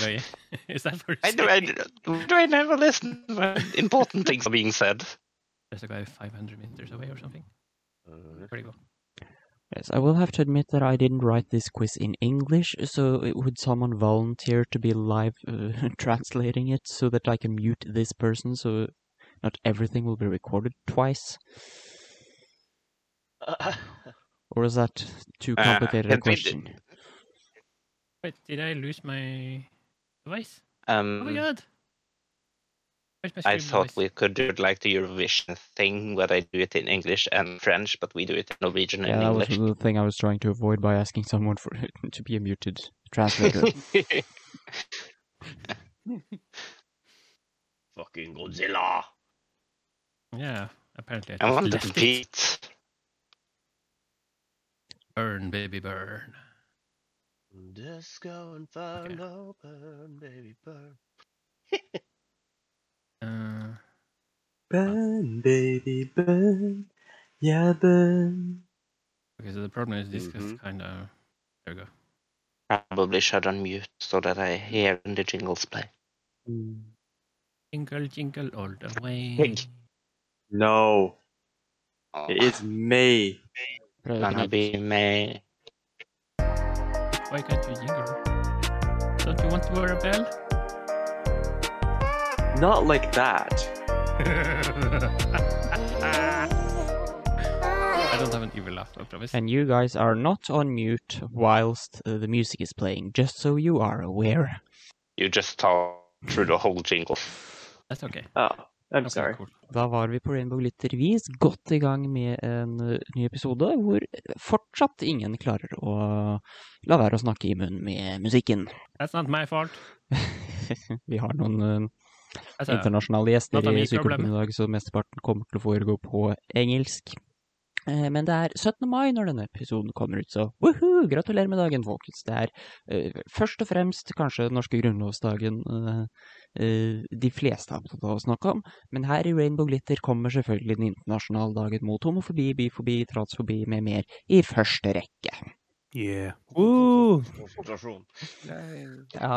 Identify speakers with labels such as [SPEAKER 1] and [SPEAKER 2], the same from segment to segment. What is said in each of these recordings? [SPEAKER 1] Louis? Is that what
[SPEAKER 2] I do, I, do I never listen when important things are being said?
[SPEAKER 1] There's a guy 500 meters away or something. Pretty cool.
[SPEAKER 3] Yes, I will have to admit that I didn't write this quiz in English, so it- would someone volunteer to be live uh, translating it so that I can mute this person so not everything will be recorded twice? Or is that too
[SPEAKER 2] Uh,
[SPEAKER 3] complicated
[SPEAKER 2] can
[SPEAKER 3] a
[SPEAKER 2] we d-
[SPEAKER 3] question?
[SPEAKER 1] Wait, did I lose my device?
[SPEAKER 2] Um,
[SPEAKER 1] Oh my god! Where's my
[SPEAKER 2] I
[SPEAKER 1] stream
[SPEAKER 2] thought
[SPEAKER 1] device?
[SPEAKER 2] we could do it like the Eurovision thing where they do it in English and French, but we do it in Norwegian
[SPEAKER 3] Yeah,
[SPEAKER 2] and
[SPEAKER 3] that was
[SPEAKER 2] English.
[SPEAKER 3] the thing I was trying to avoid by asking someone for to be a muted translator.
[SPEAKER 2] Fucking Godzilla!
[SPEAKER 1] Yeah, apparently I
[SPEAKER 2] I
[SPEAKER 1] just
[SPEAKER 2] want to
[SPEAKER 1] left it.
[SPEAKER 2] beat.
[SPEAKER 1] Burn, baby, burn.
[SPEAKER 2] Just go and
[SPEAKER 1] find
[SPEAKER 2] burn, baby, burn.
[SPEAKER 1] Uh,
[SPEAKER 4] Burn, baby, burn. Yeah, burn.
[SPEAKER 1] okay, so the problem is this is
[SPEAKER 2] Mhm.
[SPEAKER 1] kind of. Oh, There we go.
[SPEAKER 2] Probably should unmute so that I hear when the jingles play.
[SPEAKER 1] Jingle, jingle all the way.
[SPEAKER 4] No,
[SPEAKER 2] Oh,
[SPEAKER 4] it's May.
[SPEAKER 2] gonna be me.
[SPEAKER 1] Why can't you jingle? Don't you want to wear a bell?
[SPEAKER 4] Not like that.
[SPEAKER 1] I don't have an evil laugh, I promise.
[SPEAKER 3] And you guys are not on mute whilst uh, the music is playing, just so you are aware.
[SPEAKER 2] You just talk through the whole jingle.
[SPEAKER 1] That's okay.
[SPEAKER 4] Oh, I'm
[SPEAKER 1] Okay,
[SPEAKER 4] sorry.
[SPEAKER 1] Cool.
[SPEAKER 3] Da var vi på Rainbow Glittervis godt i gang med en eh, ny episode hvor fortsatt ingen klarer å la være å snakke i munnen med musikken.
[SPEAKER 1] That's not my fault.
[SPEAKER 3] vi har noen eh,
[SPEAKER 1] Altså,
[SPEAKER 3] internasjonale gjester
[SPEAKER 1] data
[SPEAKER 3] i
[SPEAKER 1] mitt
[SPEAKER 3] Sykeklubben
[SPEAKER 1] problem.
[SPEAKER 3] i dag, så mesteparten kommer til å foregå på engelsk. Eh, Men det er 17. mai når denne episoden kommer ut, så woohoo! Gratulerer med dagen, folkens. Det er eh, først og fremst kanskje den norske grunnlovsdagen eh, eh, de fleste er opptatt av å snakke om, men her i Rainbow Glitter kommer selvfølgelig den internasjonale dagen mot homofobi, bifobi, transfobi med mer i første rekke.
[SPEAKER 5] Yeah.
[SPEAKER 3] Ja,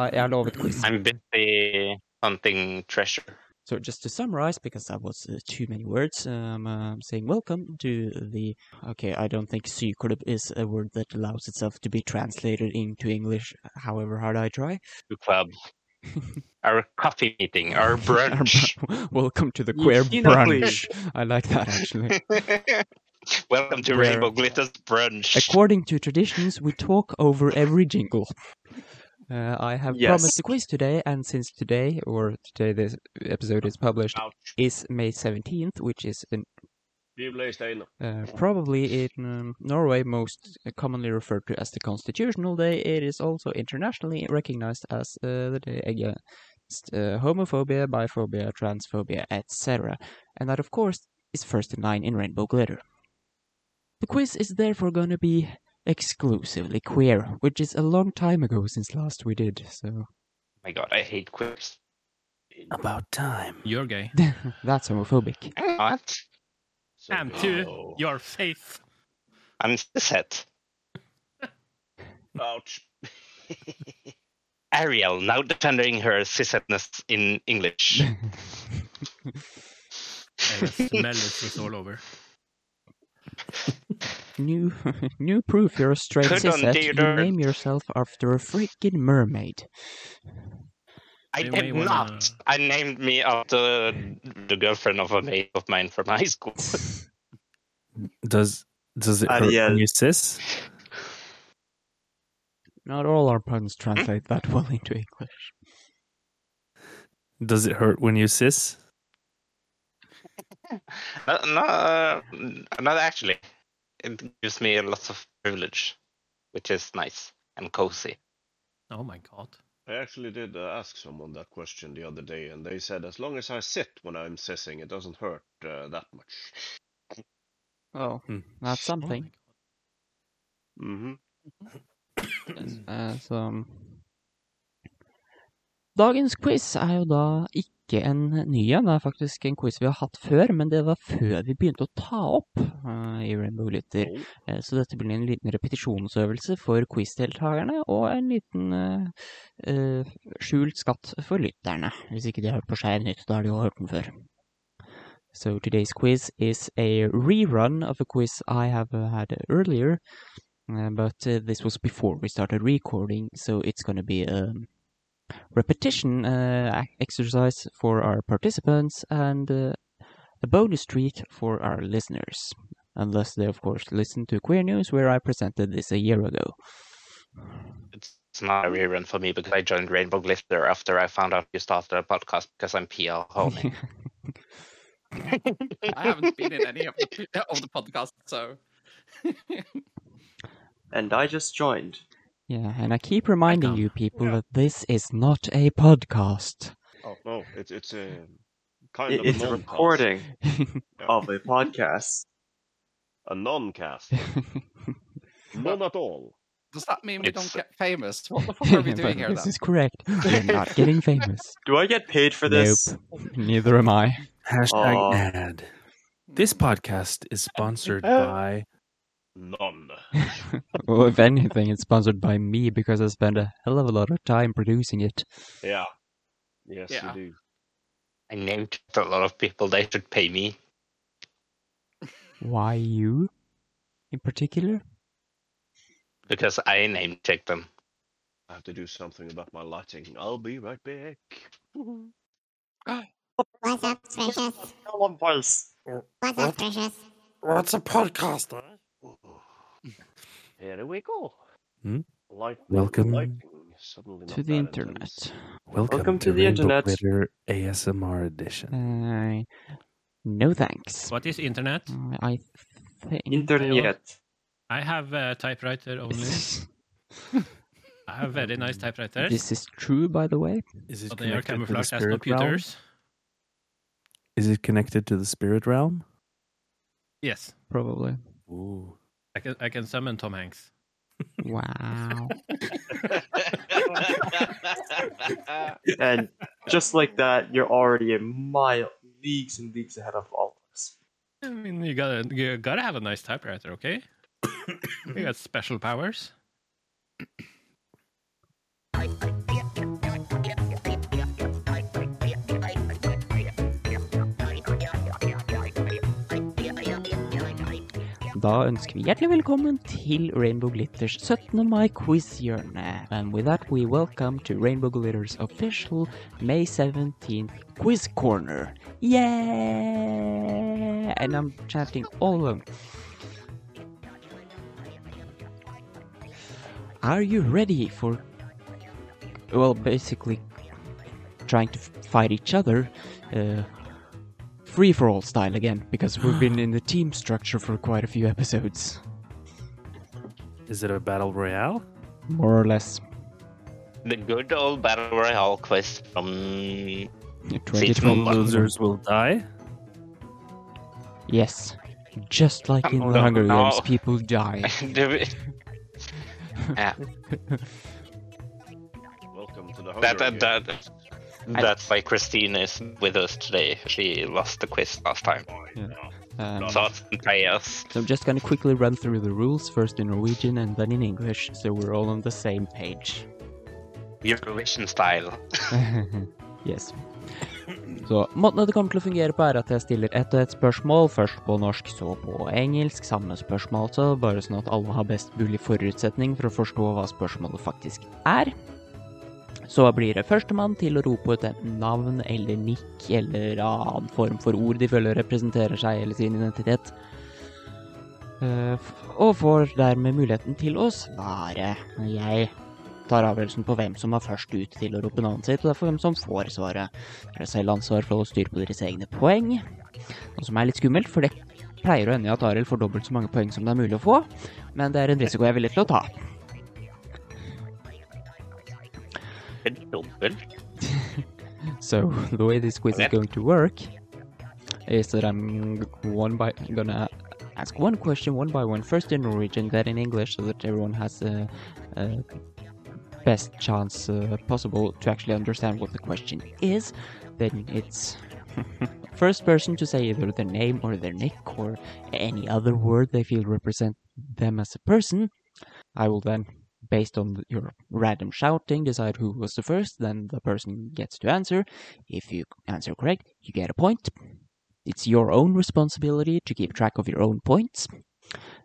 [SPEAKER 3] jeg har lovet quiz.
[SPEAKER 2] I'm busy hunting treasure.
[SPEAKER 3] So just to summarize, because that was uh, too many words, um, uh, I'm saying welcome to the. Okay, I don't think Syklub is a word that allows itself to be translated into English, however hard I try.
[SPEAKER 2] The club. our coffee meeting, our
[SPEAKER 3] Our
[SPEAKER 2] brunch.
[SPEAKER 3] br- welcome to the
[SPEAKER 4] You
[SPEAKER 3] queer
[SPEAKER 4] see that,
[SPEAKER 3] brunch. I like that actually.
[SPEAKER 2] Welcome to
[SPEAKER 3] Where-
[SPEAKER 2] Rainbow Glitter's brunch.
[SPEAKER 3] According to traditions, we talk over every jingle. Uh, I have promised
[SPEAKER 4] Yes.
[SPEAKER 3] a quiz today, and since today, or today this episode is published, is May 17th, which is an Uh, probably in um, Norway, most commonly referred to as the Constitutional Day, it is also internationally recognized as uh, the day against uh, homophobia, biphobia, transphobia, etc. And that, of course, is first in line in Rainbow Glitter. The quiz is therefore going to be exclusively queer, which is a long time ago since last we did, so
[SPEAKER 2] Oh my god, I hate quips.
[SPEAKER 5] About time.
[SPEAKER 1] you're gay.
[SPEAKER 3] that's homophobic.
[SPEAKER 2] What?
[SPEAKER 1] I'm too. Your faith.
[SPEAKER 2] I'm set. Ouch. Ariel now defending her cissetness in English.
[SPEAKER 1] And the smell is just all over.
[SPEAKER 3] New, new proof you're a straight
[SPEAKER 2] Good on
[SPEAKER 3] cishet. You
[SPEAKER 2] Theodore.
[SPEAKER 3] name yourself after a freaking mermaid.
[SPEAKER 2] I
[SPEAKER 1] You may
[SPEAKER 2] did
[SPEAKER 1] wanna-
[SPEAKER 2] not. I named me after the girlfriend of a mate of mine from high school.
[SPEAKER 5] Does does it hurt
[SPEAKER 4] Ariel.
[SPEAKER 5] when you sis?
[SPEAKER 3] Not all our puns translate that well into English.
[SPEAKER 5] Does it hurt when you sis?
[SPEAKER 2] No, no, uh, not actually. It gives me lots of privilege, which is nice and cozy.
[SPEAKER 1] Oh my god.
[SPEAKER 6] I actually did uh, ask someone that question the other day, and they said as long as I sit when I'm sissing, it doesn't hurt uh, that much.
[SPEAKER 3] Oh,
[SPEAKER 5] Hmm.
[SPEAKER 1] Oh
[SPEAKER 3] that's
[SPEAKER 1] my
[SPEAKER 3] something.
[SPEAKER 1] god.
[SPEAKER 6] Mm-hmm.
[SPEAKER 3] Uh, so, um, Dagens quiz er jo da ikke en ny en. Det er faktisk en quiz vi har hatt før, men det var før vi begynte å ta opp eh, i Rainbow Lytter. Eh, Så dette blir en liten repetisjonsøvelse for quizdeltakerne, og en liten eh, eh, skjult skatt for lytterne. Hvis ikke de har hørt på Skeiv Nytt, da har de jo hørt den før. So today's quiz is a rerun of a quiz I have uh, had earlier, uh, but uh, this was before we started recording, so it's going to be a repetition uh, ac- exercise for our participants and uh, a bonus treat for our listeners. Unless they, of course, listen to Queer News, where I presented this a year ago.
[SPEAKER 2] It's it's not a rerun for me because I joined Rainbow Glitter after I found out you started a podcast because I'm PR homie.
[SPEAKER 7] I haven't been in any of the, of the podcasts, so
[SPEAKER 4] And I just joined.
[SPEAKER 3] yeah, and I keep reminding
[SPEAKER 7] Welcome.
[SPEAKER 3] you people
[SPEAKER 6] Yeah.
[SPEAKER 3] that this is not a podcast.
[SPEAKER 6] Oh no, it's it's a kind
[SPEAKER 4] It-
[SPEAKER 6] of
[SPEAKER 4] it's
[SPEAKER 6] a
[SPEAKER 4] a
[SPEAKER 6] non-cast.
[SPEAKER 4] recording
[SPEAKER 6] Yeah,
[SPEAKER 4] of a podcast.
[SPEAKER 6] a non-cast, none at all.
[SPEAKER 7] does that mean we don't
[SPEAKER 2] It's-
[SPEAKER 7] get famous? What the fuck are we
[SPEAKER 3] But
[SPEAKER 7] doing here
[SPEAKER 3] this
[SPEAKER 7] then?
[SPEAKER 3] is correct. We're not getting famous.
[SPEAKER 4] Do I get paid for this?
[SPEAKER 3] Nope. Neither am I.
[SPEAKER 5] Hashtag
[SPEAKER 4] Aw.
[SPEAKER 5] ad. This podcast is sponsored
[SPEAKER 3] Uh,
[SPEAKER 5] by.
[SPEAKER 6] None.
[SPEAKER 3] well, if anything, it's sponsored by me because I spend a hell of a lot of time producing it.
[SPEAKER 6] Yeah. Yes,
[SPEAKER 7] Yeah.
[SPEAKER 6] you do.
[SPEAKER 2] I named a lot of people. They should pay me.
[SPEAKER 3] Why you? In particular?
[SPEAKER 2] because I name checked them.
[SPEAKER 6] I have to do something about my lighting. I'll be right back.
[SPEAKER 8] What's up, precious?
[SPEAKER 4] Tell them first.
[SPEAKER 8] What's up, precious?
[SPEAKER 9] What's a podcaster?
[SPEAKER 6] Here we go.
[SPEAKER 5] Hmm?
[SPEAKER 6] Lighting,
[SPEAKER 5] Welcome
[SPEAKER 6] lighting. Suddenly
[SPEAKER 3] To
[SPEAKER 6] not
[SPEAKER 3] the
[SPEAKER 6] that
[SPEAKER 3] internet.
[SPEAKER 6] intense.
[SPEAKER 5] Welcome,
[SPEAKER 4] Welcome to the
[SPEAKER 5] Rainbow
[SPEAKER 4] internet.
[SPEAKER 5] Glitter ASMR edition.
[SPEAKER 3] Uh, no thanks.
[SPEAKER 1] What is internet?
[SPEAKER 3] Uh, I think.
[SPEAKER 4] Internet.
[SPEAKER 1] I have a typewriter only. I have very nice typewriters,
[SPEAKER 3] this is true, by the way.
[SPEAKER 5] Is it
[SPEAKER 1] but they are
[SPEAKER 5] connected to the
[SPEAKER 1] camouflaged as
[SPEAKER 5] spirit realm?
[SPEAKER 1] computers.
[SPEAKER 5] Is it connected to the spirit realm?
[SPEAKER 1] Yes,
[SPEAKER 3] Probably.
[SPEAKER 5] Ooh.
[SPEAKER 1] I can I can summon Tom Hanks.
[SPEAKER 3] Wow.
[SPEAKER 4] And just like that, you're already a mile, leagues and leagues ahead of all of us.
[SPEAKER 1] I mean, you gotta you gotta have a nice typewriter, okay? you got special powers.
[SPEAKER 3] Da ønsker vi hjertelig velkommen til Rainbow Glitters 17. mai-quiz-hjørne. And with that, we welcome to Rainbow Glitters official May 17th quiz corner. Yeah! And I'm chanting all of them. Are you ready for. Well, basically, trying to f- fight each other. Uh, free for all style again, because we've been in the team structure for quite a few episodes.
[SPEAKER 5] Is it a battle royale?
[SPEAKER 3] More or less.
[SPEAKER 2] the good old battle royale quest from
[SPEAKER 5] Some
[SPEAKER 3] 2020.
[SPEAKER 2] Well,
[SPEAKER 5] losers will die.
[SPEAKER 3] Yes. Just like in
[SPEAKER 2] Oh,
[SPEAKER 3] the
[SPEAKER 2] no,
[SPEAKER 3] Hunger
[SPEAKER 2] no.
[SPEAKER 3] Games, people die.
[SPEAKER 2] the- Yeah,
[SPEAKER 6] Welcome to the Hunger
[SPEAKER 2] that, that,
[SPEAKER 6] Games.
[SPEAKER 2] that, that's why Christine is with us today. She lost the quiz last time.
[SPEAKER 6] Oh,
[SPEAKER 3] Um,
[SPEAKER 2] Thoughts and prayers.
[SPEAKER 3] so I'm just gonna quickly run through the rules, first in Norwegian and then in English, so we're all on the same page.
[SPEAKER 2] Eurovision style.
[SPEAKER 3] yes. Så måten det kommer til å fungere på, er at jeg stiller ett og ett spørsmål, først på norsk, så på engelsk. Samme spørsmål, altså, bare sånn at alle har best mulig forutsetning for å forstå hva spørsmålet faktisk er. Så blir det førstemann til å rope ut enten navn eller nikk eller annen form for ord de føler representerer seg eller sin identitet. Eh, f- Og får dermed muligheten til å svare. Jeg tar avgjørelsen på hvem som var først ut til å rope navnet sitt, og derfor hvem som får svaret. Dere har selv ansvar for å holde styr på deres egne poeng. Noe som er litt skummelt, for det pleier å ende i at Arild får dobbelt så mange poeng som det er mulig å få, men det er en risiko jeg er villig til å ta.
[SPEAKER 2] Dobbelt.
[SPEAKER 3] So the way this quiz is
[SPEAKER 2] Okay.
[SPEAKER 3] going to work is that I'm one by gonna ask one question one by one, first in Norwegian, then in English, so that everyone has a, a best chance uh, possible to actually understand what the question is, then it's first person to say either their name or their nick or any other word they feel represent them as a person. I will then, based on your random shouting, decide who was the first. Then the person gets to answer. If you answer correct, you get a point. It's your own responsibility to keep track of your own points.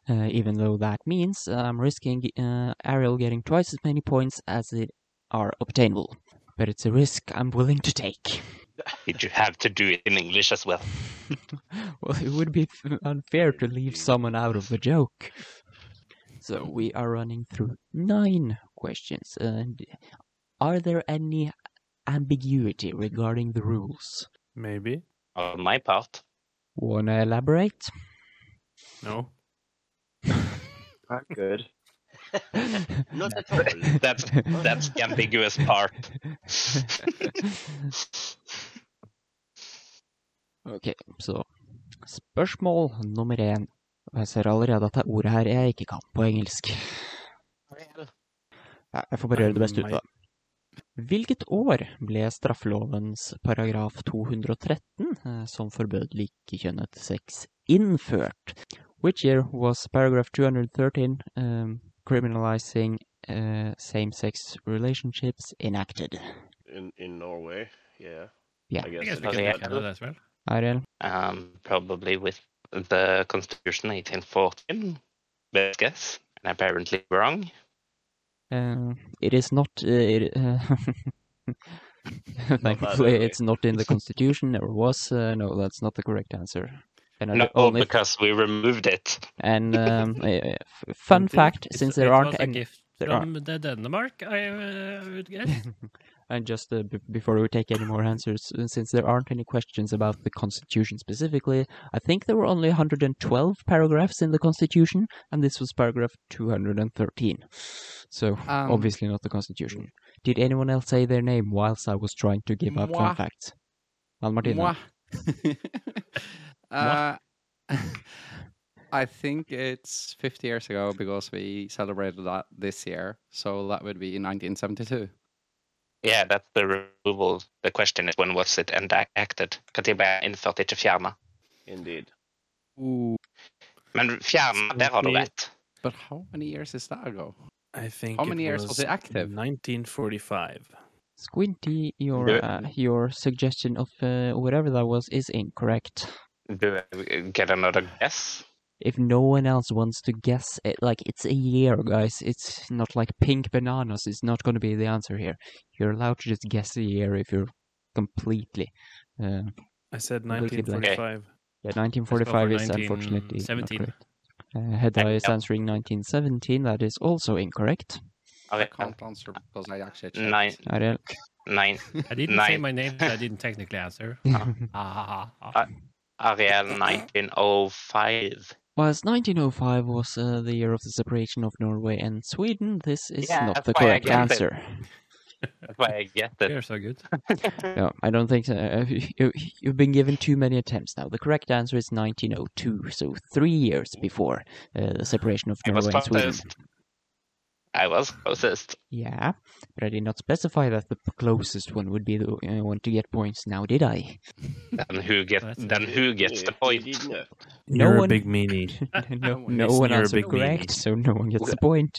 [SPEAKER 3] Uh, even though that means I'm risking uh, Ariel getting twice as many points as it are obtainable. But it's a risk I'm willing to take.
[SPEAKER 2] Did you have to do it in English as well?
[SPEAKER 3] Well, it would be f- unfair to leave someone out of the joke. So we are running through nine questions. And are there any ambiguity regarding the rules?
[SPEAKER 5] Maybe.
[SPEAKER 2] On my part,
[SPEAKER 3] Wanna elaborate?
[SPEAKER 5] No.
[SPEAKER 4] Not good.
[SPEAKER 6] Not at all.
[SPEAKER 2] that's that's the ambiguous part.
[SPEAKER 3] ok, så spørsmål nummer én. Og Jeg ser allerede at det er ordet her jeg ikke kan på engelsk. Ja, Jeg får bare gjøre det beste ut av det. Hvilket år ble straffelovens paragraf 213, eh, som forbød likekjønnet sex, innført? Which year was paragraph 213 um, criminalizing eh, same-sex relationships enacted?
[SPEAKER 6] In in Norway, yeah.
[SPEAKER 3] Yeah.
[SPEAKER 6] I
[SPEAKER 1] I
[SPEAKER 6] guess,
[SPEAKER 1] guess
[SPEAKER 6] it
[SPEAKER 1] we
[SPEAKER 6] is
[SPEAKER 2] because they
[SPEAKER 1] can do
[SPEAKER 6] that.
[SPEAKER 2] have had
[SPEAKER 1] Canada as well.
[SPEAKER 3] Ariel?
[SPEAKER 2] Um, probably with the Constitution 1814. Best guess, and apparently wrong.
[SPEAKER 3] Uh, it is not. Uh, it, uh, thankfully,
[SPEAKER 6] anyway.
[SPEAKER 3] it's not in the constitution. There was uh, no. That's not the correct answer. And I
[SPEAKER 2] No,
[SPEAKER 3] do- only
[SPEAKER 2] because we removed it.
[SPEAKER 3] and um, uh, f- fun fact,
[SPEAKER 1] It's-
[SPEAKER 3] since
[SPEAKER 1] it
[SPEAKER 3] there
[SPEAKER 1] was
[SPEAKER 3] aren't
[SPEAKER 1] a
[SPEAKER 3] any.
[SPEAKER 1] gift
[SPEAKER 3] there
[SPEAKER 1] from the Denmark, I uh, would guess.
[SPEAKER 3] And just uh, b- before we take any more answers, uh, since there aren't any questions about the Constitution specifically, I think there were only 112 paragraphs in the Constitution, and this was paragraph 213. So,
[SPEAKER 7] Um,
[SPEAKER 3] obviously not the Constitution. Did anyone else say their name whilst I was trying to give out fun
[SPEAKER 7] Moi.
[SPEAKER 3] facts? Well, Martina.
[SPEAKER 7] Moi. uh, I think it's 50 years ago because we celebrated that this year. So that would be in 1972.
[SPEAKER 2] Yeah, that's the removal. The question is when was it enacted? Katiba innførte ikke fjerna.
[SPEAKER 6] Indeed. Mm.
[SPEAKER 7] Ooh.
[SPEAKER 2] Men fjerna, der har du rett.
[SPEAKER 7] But how many years is that ago?
[SPEAKER 5] I think
[SPEAKER 7] How many years was it active?
[SPEAKER 5] 1945.
[SPEAKER 3] Squinty, your
[SPEAKER 2] Yeah.
[SPEAKER 3] uh, your suggestion of uh, whatever that was is incorrect.
[SPEAKER 2] Do I eh, get another guess?
[SPEAKER 3] if no one else wants to guess it like it's a year guys it's not like pink bananas it's not going to be the answer here you're allowed to just guess a year if you're completely uh,
[SPEAKER 5] I said
[SPEAKER 3] We'll keep that.
[SPEAKER 5] 1945.
[SPEAKER 3] yeah
[SPEAKER 1] Let's go for
[SPEAKER 3] 1945 is unfortunately not
[SPEAKER 1] 1917.
[SPEAKER 3] correct. uh, Hedda is
[SPEAKER 2] Yeah.
[SPEAKER 3] answering 1917 that is also incorrect
[SPEAKER 7] I
[SPEAKER 2] Okay,
[SPEAKER 7] can't answer because I actually checked.
[SPEAKER 2] Nine,
[SPEAKER 3] Ariel.
[SPEAKER 2] nine.
[SPEAKER 1] I didn't say
[SPEAKER 2] Nine.
[SPEAKER 1] my name, so I didn't technically answer. Ah, ah, ah.
[SPEAKER 2] Uh, Ariel 1905.
[SPEAKER 3] whilst 1905 was uh, the year of the separation of Norway and Sweden this is
[SPEAKER 2] Yeah,
[SPEAKER 3] not
[SPEAKER 2] that's
[SPEAKER 3] the
[SPEAKER 2] why I
[SPEAKER 3] correct
[SPEAKER 2] guessed it.
[SPEAKER 3] answer
[SPEAKER 2] That's why I get it.
[SPEAKER 1] You're so good.
[SPEAKER 3] No, I don't think so. Uh, you, you've been given too many attempts now. The correct answer is 1902, so three years before uh, the separation of
[SPEAKER 2] I was
[SPEAKER 3] Norway and Sweden.
[SPEAKER 2] closest. I was closest.
[SPEAKER 3] Yeah, but I did not specify that the closest one would be the uh, one to get points now, did I?
[SPEAKER 2] Then who gets?
[SPEAKER 1] That's-
[SPEAKER 2] Then who gets the
[SPEAKER 6] Yeah,
[SPEAKER 2] point?
[SPEAKER 6] indeed not.
[SPEAKER 3] No
[SPEAKER 5] You're
[SPEAKER 3] one-
[SPEAKER 5] a big meanie.
[SPEAKER 3] no
[SPEAKER 7] one
[SPEAKER 3] no
[SPEAKER 5] is
[SPEAKER 3] one
[SPEAKER 5] near a
[SPEAKER 3] answered
[SPEAKER 5] big meaning.
[SPEAKER 3] correct, so no one gets the point.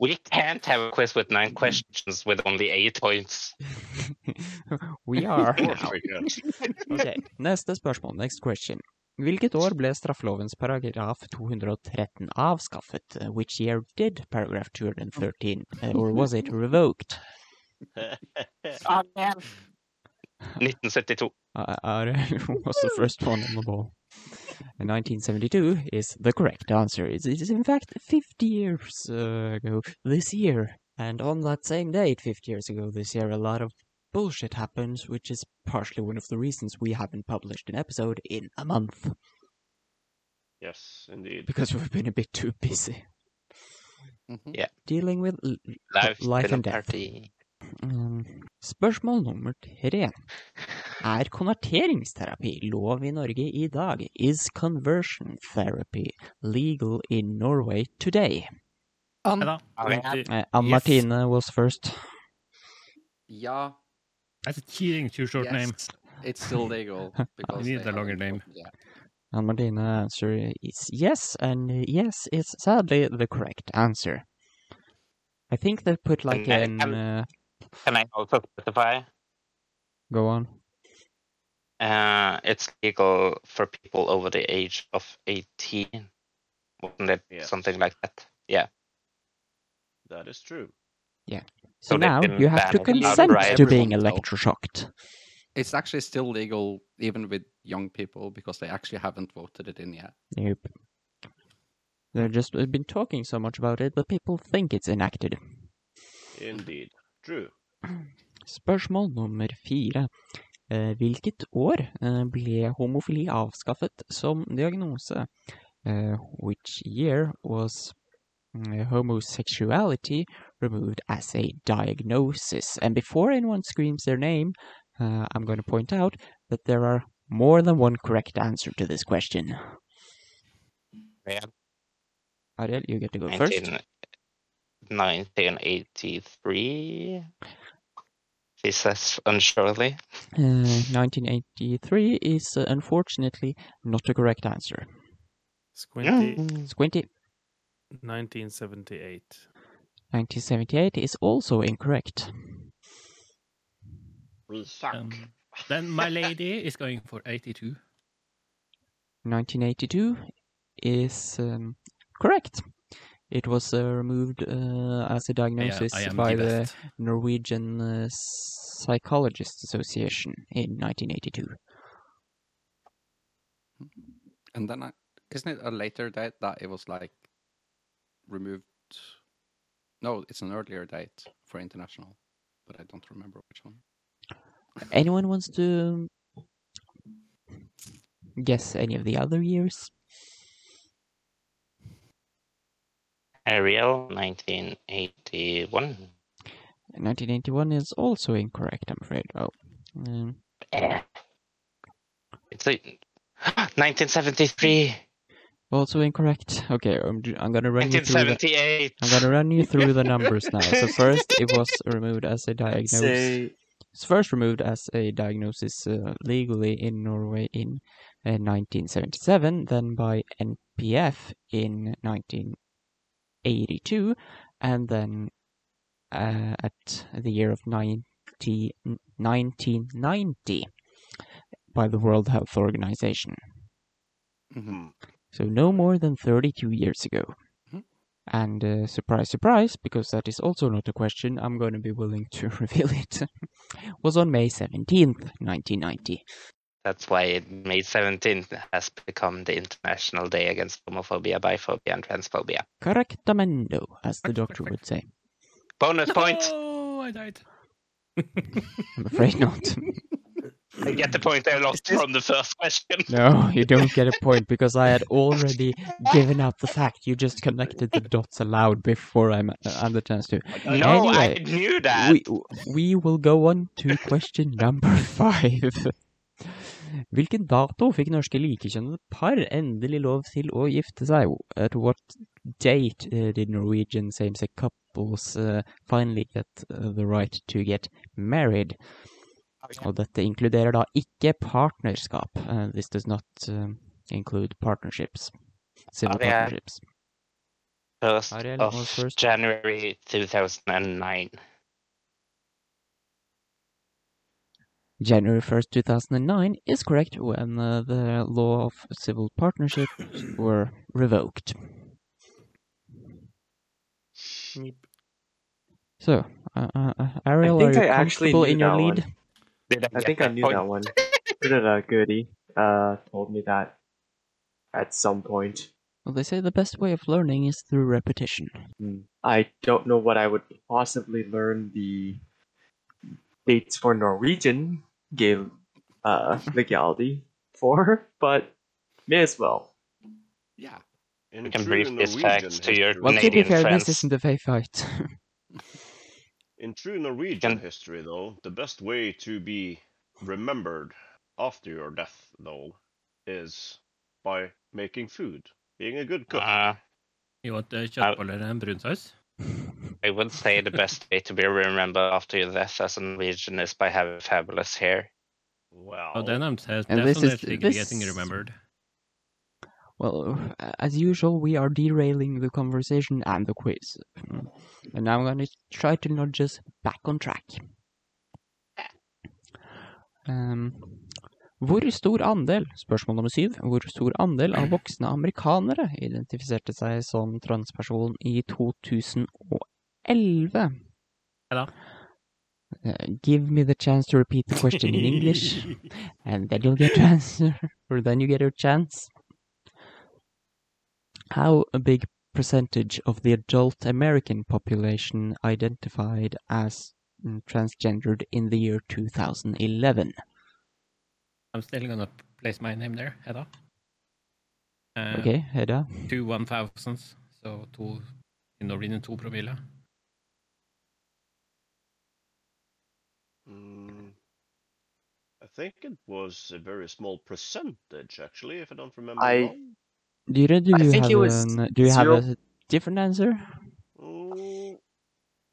[SPEAKER 2] We can't have a quiz with nine questions with only eight points.
[SPEAKER 3] we are
[SPEAKER 6] Of course
[SPEAKER 3] now.
[SPEAKER 6] we can.
[SPEAKER 3] Ok, neste spørsmål. Next question. Hvilket år ble straffelovens paragraf 213 avskaffet? Uh, Which year did paragraph 213, uh, or was it revoked? Oh,
[SPEAKER 2] 1972.
[SPEAKER 3] Uh, uh, was the first one on the ball. And 1972 is the correct answer. It it is in fact 50 years uh, ago this year. And on that same date, 50 years ago this year, a lot of bullshit happened, which is partially one of the reasons we haven't published an episode in a month.
[SPEAKER 6] Yes, indeed.
[SPEAKER 3] because we've been a bit too busy
[SPEAKER 7] Mhm.
[SPEAKER 3] dealing with l-
[SPEAKER 2] Life,
[SPEAKER 3] Life
[SPEAKER 2] below
[SPEAKER 3] and death.
[SPEAKER 2] 30.
[SPEAKER 3] um, Spørsmål nummer tre. Er konverteringsterapi lov i Norge i dag? Is conversion therapy legal in Norway today?
[SPEAKER 7] Ann.
[SPEAKER 1] Neida.
[SPEAKER 2] Okay.
[SPEAKER 3] Uh, Ann Martine was first.
[SPEAKER 7] Yeah,
[SPEAKER 1] That's a cheating too short
[SPEAKER 7] yes,
[SPEAKER 1] name.
[SPEAKER 7] It's still legal because
[SPEAKER 1] need
[SPEAKER 7] they
[SPEAKER 1] the longer
[SPEAKER 7] haven't-
[SPEAKER 1] name.
[SPEAKER 7] Yeah.
[SPEAKER 3] Ann Martine answer is yes, and uh, yes is sadly the correct answer. I think they put like an
[SPEAKER 2] And-
[SPEAKER 3] uh,
[SPEAKER 2] Can I also specify?
[SPEAKER 3] go on.
[SPEAKER 2] Uh, it's legal for people over the age of 18. Wasn't it
[SPEAKER 6] Yeah.
[SPEAKER 2] something like that? Yeah.
[SPEAKER 6] That is true.
[SPEAKER 3] So
[SPEAKER 2] they
[SPEAKER 3] now
[SPEAKER 2] didn't
[SPEAKER 3] you have
[SPEAKER 2] ban
[SPEAKER 3] to
[SPEAKER 2] it
[SPEAKER 3] consent
[SPEAKER 2] outright.
[SPEAKER 3] to being
[SPEAKER 7] Everyone, though.
[SPEAKER 3] electroshocked.
[SPEAKER 7] It's actually still legal even with young people because they actually haven't voted it in yet.
[SPEAKER 3] Nope. They've just been talking so much about it, but people think it's enacted.
[SPEAKER 6] Indeed. True.
[SPEAKER 3] Spørsmål nummer fire. Eh, Hvilket år eh, ble homofili avskaffet som diagnose? Eh, Which year was mm, homosexuality removed as a diagnosis? And before anyone screams their name, uh, I'm going to point out that there are more than one correct answer to this question.
[SPEAKER 2] Yeah.
[SPEAKER 3] Ariel, you get to go first.
[SPEAKER 2] 19 1983. She says unsurely.
[SPEAKER 3] Uh, 1983 is uh, unfortunately not the correct answer.
[SPEAKER 5] Squinty,
[SPEAKER 3] Squinty,
[SPEAKER 5] 1978.
[SPEAKER 3] 1978 is also incorrect.
[SPEAKER 6] We suck.
[SPEAKER 1] Um, Then my lady is going for 82.
[SPEAKER 3] 1982 is um, correct. It was uh, removed uh, as a
[SPEAKER 1] I am-
[SPEAKER 3] diagnosis
[SPEAKER 1] I am
[SPEAKER 3] by
[SPEAKER 1] the
[SPEAKER 3] the
[SPEAKER 1] best.
[SPEAKER 3] Norwegian uh, Psychologists Association in 1982.
[SPEAKER 7] And then I, isn't it a later date that it was like removed? No, it's an earlier date for international, but I don't remember which one.
[SPEAKER 3] Anyone wants to guess any of the other years?
[SPEAKER 2] Ariel, 1981.
[SPEAKER 3] 1981 is also incorrect, I'm afraid. Oh. Um,
[SPEAKER 2] Eh. It's a 1973.
[SPEAKER 3] Also incorrect. Okay, I'm, ju- I'm gonna run you through. The,
[SPEAKER 2] 1978.
[SPEAKER 3] I'm gonna run you through the numbers now. So first, it was removed as a diagnosis.
[SPEAKER 4] Say
[SPEAKER 3] It's first removed as a diagnosis uh, legally in Norway in uh, 1977, then by NPF in 1982, and then uh, at the year of 90, 1990 by the World Health Organization.
[SPEAKER 7] Mhm.
[SPEAKER 4] Mm-hmm.
[SPEAKER 3] So no more than 32 years ago.
[SPEAKER 2] Mm-hmm.
[SPEAKER 7] Mhm.
[SPEAKER 3] And uh, surprise, surprise, because that is also not a question, I'm going to be willing to reveal it. was on May 17th, 1990.
[SPEAKER 2] That's why May 17th has become the International Day Against Homophobia, Biphobia, and Transphobia.
[SPEAKER 3] Correctamendo, as the
[SPEAKER 1] Correct,
[SPEAKER 3] doctor
[SPEAKER 1] correct,
[SPEAKER 3] would say.
[SPEAKER 2] Bonus point!
[SPEAKER 1] Oh, I died.
[SPEAKER 3] I'm afraid not.
[SPEAKER 2] I get the point I lost from the first question.
[SPEAKER 3] no, you don't get a point because I had already given up the fact. You just connected the dots aloud before I'm, I had the chance to.
[SPEAKER 2] No, I
[SPEAKER 3] Anyway,
[SPEAKER 2] knew that.
[SPEAKER 3] We, we will go on to question number five. Hvilken dato fikk norske likekjønnede par endelig lov til å gifte seg? At what date uh, did Norwegian same-sex couples uh, finally get uh, the right to get married? Og dette inkluderer da ikke partnerskap. Uh, this does not uh, include partnerships. Civil
[SPEAKER 2] Ariel.
[SPEAKER 3] partnerships.
[SPEAKER 2] First
[SPEAKER 3] Ariel
[SPEAKER 2] of
[SPEAKER 3] was first.
[SPEAKER 2] January 2009.
[SPEAKER 3] January 1st, 2009 is correct when uh, the law of civil partnership were revoked. So, uh, uh, uh, Ariel,
[SPEAKER 4] I
[SPEAKER 3] are
[SPEAKER 4] think
[SPEAKER 3] you
[SPEAKER 4] I actually
[SPEAKER 3] comfortable
[SPEAKER 4] knew
[SPEAKER 3] in your
[SPEAKER 4] that
[SPEAKER 3] lead?
[SPEAKER 4] one.
[SPEAKER 2] Did
[SPEAKER 4] I
[SPEAKER 2] get
[SPEAKER 4] think
[SPEAKER 2] my
[SPEAKER 4] I knew
[SPEAKER 2] point?
[SPEAKER 4] that one. Britta Goody uh, told me that at some point.
[SPEAKER 3] Well, they say the best way of learning is through repetition.
[SPEAKER 4] Hmm. I don't know what I would possibly learn the dates for Norwegian gay uh, legality for, but may as well.
[SPEAKER 7] Yeah.
[SPEAKER 6] In
[SPEAKER 2] We can
[SPEAKER 6] true
[SPEAKER 2] brief this
[SPEAKER 6] Norwegian
[SPEAKER 2] fact to your
[SPEAKER 6] history-
[SPEAKER 3] Well, to be
[SPEAKER 2] Canadian
[SPEAKER 3] fair,
[SPEAKER 2] friends.
[SPEAKER 3] this isn't a fair fight.
[SPEAKER 6] In true Norwegian
[SPEAKER 2] Can-
[SPEAKER 6] history, though, the best way to be remembered after your death, though, is by making food, being a good cook.
[SPEAKER 2] Uh,
[SPEAKER 1] You want uh,
[SPEAKER 2] Au.
[SPEAKER 1] kjøttboller and brun saus?
[SPEAKER 2] I would say the best way to be remembered after your death as a Norwegian is by having fabulous hair.
[SPEAKER 6] Wow.
[SPEAKER 1] Oh, then I'm te-
[SPEAKER 3] And this
[SPEAKER 1] definitely
[SPEAKER 3] is-
[SPEAKER 1] getting
[SPEAKER 3] this-
[SPEAKER 1] remembered.
[SPEAKER 3] Well, as usual, we are derailing the conversation and the quiz. And I'm going to try to nudge us back on track. Um, hvor stor andel spørsmål nummer syv, hvor stor andel av voksne amerikanere identifiserte seg som transperson i 2011?
[SPEAKER 1] Ja da.
[SPEAKER 3] Uh, give me the chance to repeat the question in English, and then you'll get your answer, or then you get your chance. How a big percentage of the adult American population identified as mm, transgendered in the year 2011?
[SPEAKER 1] I'm still gonna place my name there, Hedda. Uh,
[SPEAKER 3] Okay, Hedda.
[SPEAKER 1] Two one thousands, so two i Norwegian to promille.
[SPEAKER 6] Mm, I think it was a very small percentage, actually, if I don't remember
[SPEAKER 4] I-
[SPEAKER 6] wrong.
[SPEAKER 3] Dira, do
[SPEAKER 4] I
[SPEAKER 3] you
[SPEAKER 4] think
[SPEAKER 3] have
[SPEAKER 4] it was
[SPEAKER 3] an, do you have
[SPEAKER 4] zero-
[SPEAKER 3] a different answer?
[SPEAKER 6] Mm,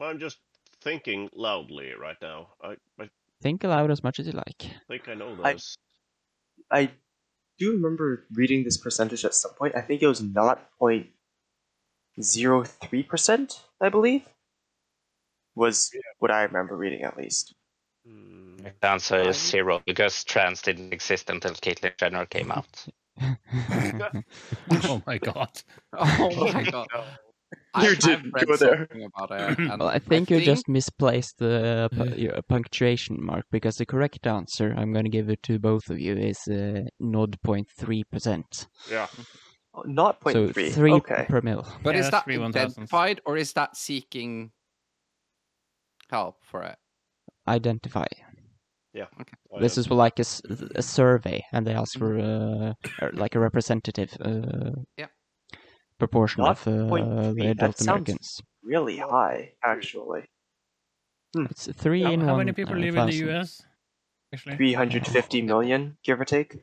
[SPEAKER 6] I'm just thinking loudly right now. I, I
[SPEAKER 3] Think aloud as much as you like.
[SPEAKER 6] think I know
[SPEAKER 4] I-
[SPEAKER 6] this.
[SPEAKER 4] I do remember reading this percentage at some point. I think it was not point zero three percent. I believe was what I remember reading at least.
[SPEAKER 6] Mm,
[SPEAKER 2] The answer is zero because trans didn't exist until Caitlyn Jenner came out.
[SPEAKER 1] Oh my god.
[SPEAKER 7] Oh my god.
[SPEAKER 4] You
[SPEAKER 7] I've
[SPEAKER 4] didn't
[SPEAKER 7] read
[SPEAKER 4] go there.
[SPEAKER 7] something about it, and
[SPEAKER 3] Well, I think you just misplaced the uh, pu- your punctuation mark because the correct answer I'm going to give it to both of you is uh, 0.3%.
[SPEAKER 6] yeah.
[SPEAKER 4] Oh, Not point
[SPEAKER 3] So
[SPEAKER 4] three.
[SPEAKER 3] 3
[SPEAKER 4] Okay.
[SPEAKER 3] per mil.
[SPEAKER 7] But
[SPEAKER 1] Yeah,
[SPEAKER 7] is
[SPEAKER 1] that's
[SPEAKER 7] that
[SPEAKER 1] three 1000s.
[SPEAKER 7] identified or is that seeking help for it?
[SPEAKER 3] Identify.
[SPEAKER 6] I
[SPEAKER 3] This
[SPEAKER 6] don't-
[SPEAKER 3] is like a, s- a survey, and they ask for uh, er, like a representative uh,
[SPEAKER 7] Yeah.
[SPEAKER 3] proportion
[SPEAKER 4] Not
[SPEAKER 3] of uh,
[SPEAKER 4] 0.3,
[SPEAKER 3] the
[SPEAKER 4] that
[SPEAKER 3] adult
[SPEAKER 4] sounds-
[SPEAKER 3] Americans.
[SPEAKER 4] Really high, actually.
[SPEAKER 3] It's three
[SPEAKER 1] How,
[SPEAKER 3] in
[SPEAKER 1] how
[SPEAKER 3] one.
[SPEAKER 1] many people
[SPEAKER 3] uh,
[SPEAKER 1] live in the
[SPEAKER 3] thousand.
[SPEAKER 1] US? Actually,
[SPEAKER 4] Three hundred fifty million, give or take.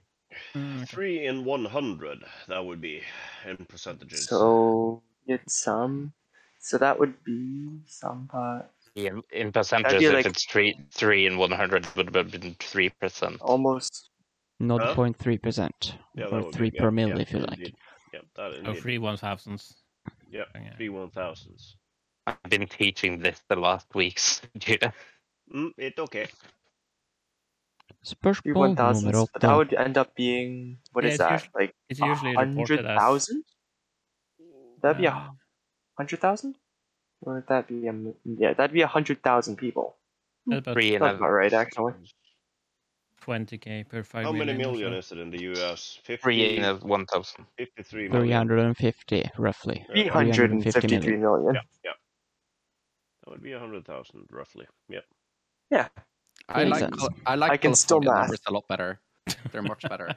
[SPEAKER 1] Mm, okay.
[SPEAKER 6] Three in 100, that would be in percentages.
[SPEAKER 4] So it's some. So that would be some uh, part,
[SPEAKER 2] In, in percentages,
[SPEAKER 4] like-
[SPEAKER 2] if it's three, three in 100 would have been 3%.
[SPEAKER 4] almost.
[SPEAKER 6] Huh?
[SPEAKER 3] 0.3%.
[SPEAKER 6] Yeah, that
[SPEAKER 3] or
[SPEAKER 6] would be-
[SPEAKER 3] 3
[SPEAKER 6] yeah,
[SPEAKER 3] per mil,
[SPEAKER 6] yeah,
[SPEAKER 3] if you like.
[SPEAKER 6] indeed. Yeah, that
[SPEAKER 1] Oh,
[SPEAKER 6] indeed.
[SPEAKER 1] three one thousands.
[SPEAKER 6] Yeah,
[SPEAKER 1] Yeah.
[SPEAKER 6] three 1000s.
[SPEAKER 2] I've been teaching this the last weeks. Judah.
[SPEAKER 6] Mm, it okay.
[SPEAKER 4] Three
[SPEAKER 3] Spørsmål
[SPEAKER 4] one
[SPEAKER 3] nummer
[SPEAKER 4] thousands, but that
[SPEAKER 3] åtte.
[SPEAKER 4] would end up being what
[SPEAKER 1] Yeah,
[SPEAKER 4] is
[SPEAKER 1] it's
[SPEAKER 4] that?
[SPEAKER 1] usu-
[SPEAKER 4] Like
[SPEAKER 1] It's
[SPEAKER 4] a
[SPEAKER 1] usually
[SPEAKER 4] hundred
[SPEAKER 1] reported as.
[SPEAKER 4] thousand? That'd be
[SPEAKER 1] uh,
[SPEAKER 4] a hundred thousand, or would that be a m- yeah? That'd be a hundred thousand people.
[SPEAKER 1] Hmm. about
[SPEAKER 2] Three in
[SPEAKER 4] That's about
[SPEAKER 2] a,
[SPEAKER 4] right, actually.
[SPEAKER 1] 20k per five
[SPEAKER 6] How many
[SPEAKER 1] or
[SPEAKER 6] million
[SPEAKER 1] so.
[SPEAKER 6] is it in the US? 50,
[SPEAKER 2] three in a 1,000.
[SPEAKER 6] 53 million.
[SPEAKER 3] 350, roughly.
[SPEAKER 4] Three hundred and fifty-three million.
[SPEAKER 6] Yeah, yeah. That would be 100,000 roughly. Yeah.
[SPEAKER 7] I
[SPEAKER 3] Makes
[SPEAKER 7] like
[SPEAKER 3] sense.
[SPEAKER 7] Cal- I like
[SPEAKER 4] I can still
[SPEAKER 7] California
[SPEAKER 4] math.
[SPEAKER 7] numbers a lot better. They're much better.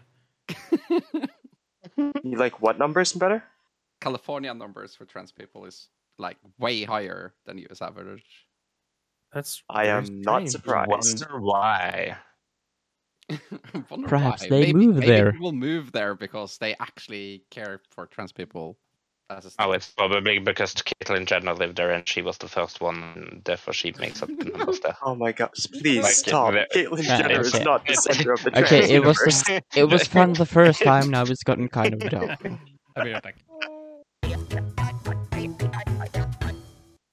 [SPEAKER 4] You like what numbers better?
[SPEAKER 7] California numbers for trans people is like way higher than US average.
[SPEAKER 5] That's
[SPEAKER 4] I
[SPEAKER 5] very
[SPEAKER 4] am not
[SPEAKER 5] strange.
[SPEAKER 4] surprised.
[SPEAKER 2] Wonder why.
[SPEAKER 7] Wonder
[SPEAKER 3] Perhaps
[SPEAKER 7] why.
[SPEAKER 3] they
[SPEAKER 7] maybe,
[SPEAKER 3] move
[SPEAKER 7] maybe
[SPEAKER 3] there.
[SPEAKER 7] People move there because they actually care for trans people. As a
[SPEAKER 2] Oh,
[SPEAKER 7] status.
[SPEAKER 2] it's probably because Caitlyn Jenner lived there and she was the first one, and therefore she makes up the numbers there.
[SPEAKER 4] Oh my gosh! Please
[SPEAKER 2] Like,
[SPEAKER 4] stop.
[SPEAKER 2] the-
[SPEAKER 4] Caitlyn
[SPEAKER 3] Yeah,
[SPEAKER 4] Jenner
[SPEAKER 3] okay.
[SPEAKER 4] is not the center of the trans
[SPEAKER 3] Okay, it was the,
[SPEAKER 4] universe.
[SPEAKER 3] f- it was fun the first time. Now it's gotten kind of dull.
[SPEAKER 1] I'll be right back.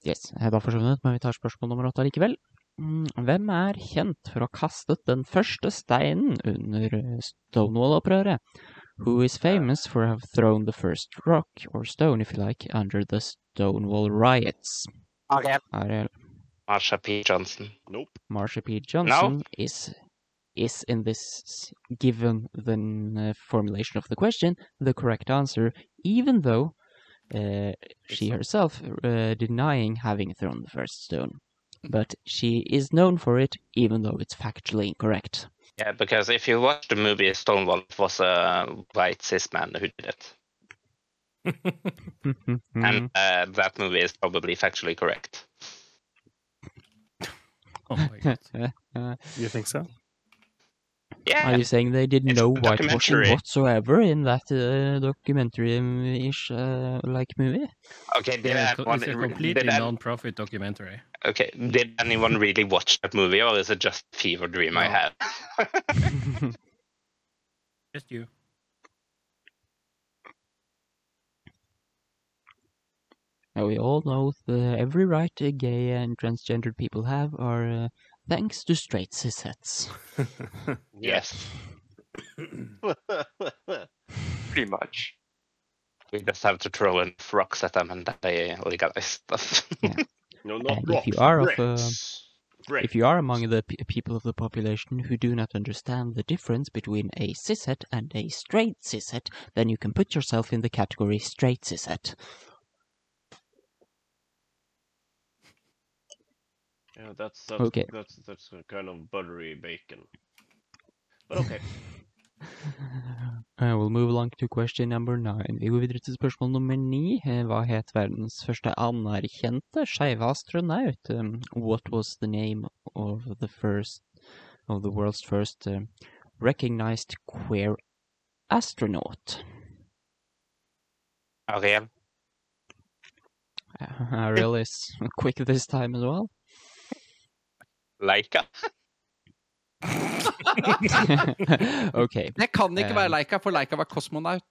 [SPEAKER 3] Yes, jeg var forsvunnet, men vi tar spørsmål nummer åtte likevel. Mm, Hvem er kjent for å ha kastet den første steinen under eh, Stonewall-opprøret? Who is famous for have thrown the first rock, or stone if you like, under the Stonewall riots?
[SPEAKER 2] Okay.
[SPEAKER 3] Ariel
[SPEAKER 2] Marsha P. Johnson.
[SPEAKER 6] Nope.
[SPEAKER 3] Marsha P. Johnson is is in this given the uh, formulation of the question the correct answer, even though uh, she herself uh, denying having thrown the first stone. But she is known for it, even though it's factually incorrect.
[SPEAKER 2] Yeah, because if you watch the movie Stonewall, it was a white cis man who did it.
[SPEAKER 3] Hmm.
[SPEAKER 2] And uh, that movie is probably factually correct.
[SPEAKER 1] Oh my god.
[SPEAKER 5] You think so?
[SPEAKER 2] Yeah.
[SPEAKER 3] Are you saying they did
[SPEAKER 2] It's
[SPEAKER 3] no
[SPEAKER 2] a
[SPEAKER 3] whitewashing
[SPEAKER 2] documentary.
[SPEAKER 3] whatsoever in that uh, documentary-ish uh, like movie?
[SPEAKER 2] okay, did
[SPEAKER 1] Yeah, it's, co-
[SPEAKER 2] anyone,
[SPEAKER 1] it's a
[SPEAKER 2] did,
[SPEAKER 1] completely
[SPEAKER 2] an-
[SPEAKER 1] non-profit documentary.
[SPEAKER 2] okay, did anyone really watch that movie, or is it just a fever dream I
[SPEAKER 1] No.
[SPEAKER 2] had?
[SPEAKER 1] Just you.
[SPEAKER 3] Now we all know the every right uh, gay and transgendered people have are uh, thanks to straight cisets.
[SPEAKER 2] yes.
[SPEAKER 4] Pretty much.
[SPEAKER 2] We just have to throw in rocks at them, and then they legalize stuff.
[SPEAKER 6] No,
[SPEAKER 3] Uh,
[SPEAKER 6] not
[SPEAKER 3] if
[SPEAKER 6] rocks,
[SPEAKER 3] you are of, uh,
[SPEAKER 6] bricks. Bricks.
[SPEAKER 3] If you are among the pe- people of the population who do not understand the difference between a cishet and a straight cishet, then you can put yourself in the category straight cishet.
[SPEAKER 6] Yeah, that's that's
[SPEAKER 3] Okay.
[SPEAKER 6] that's that's a kind of buttery bacon. But okay.
[SPEAKER 3] I will Eh, move along to question number nine. Vi går videre til spørsmål nummer ni. Eh, Hva het verdens første anerkjente skeive astronaut? Um, What was the name of the first of the world's first um, recognized queer astronaut?
[SPEAKER 2] Ariel,
[SPEAKER 3] Uh, I realize quick this time as well.
[SPEAKER 2] Laika.
[SPEAKER 3] okay,
[SPEAKER 7] Det kan ikke være
[SPEAKER 3] Um,
[SPEAKER 7] Leika, for Leika var kosmonaut.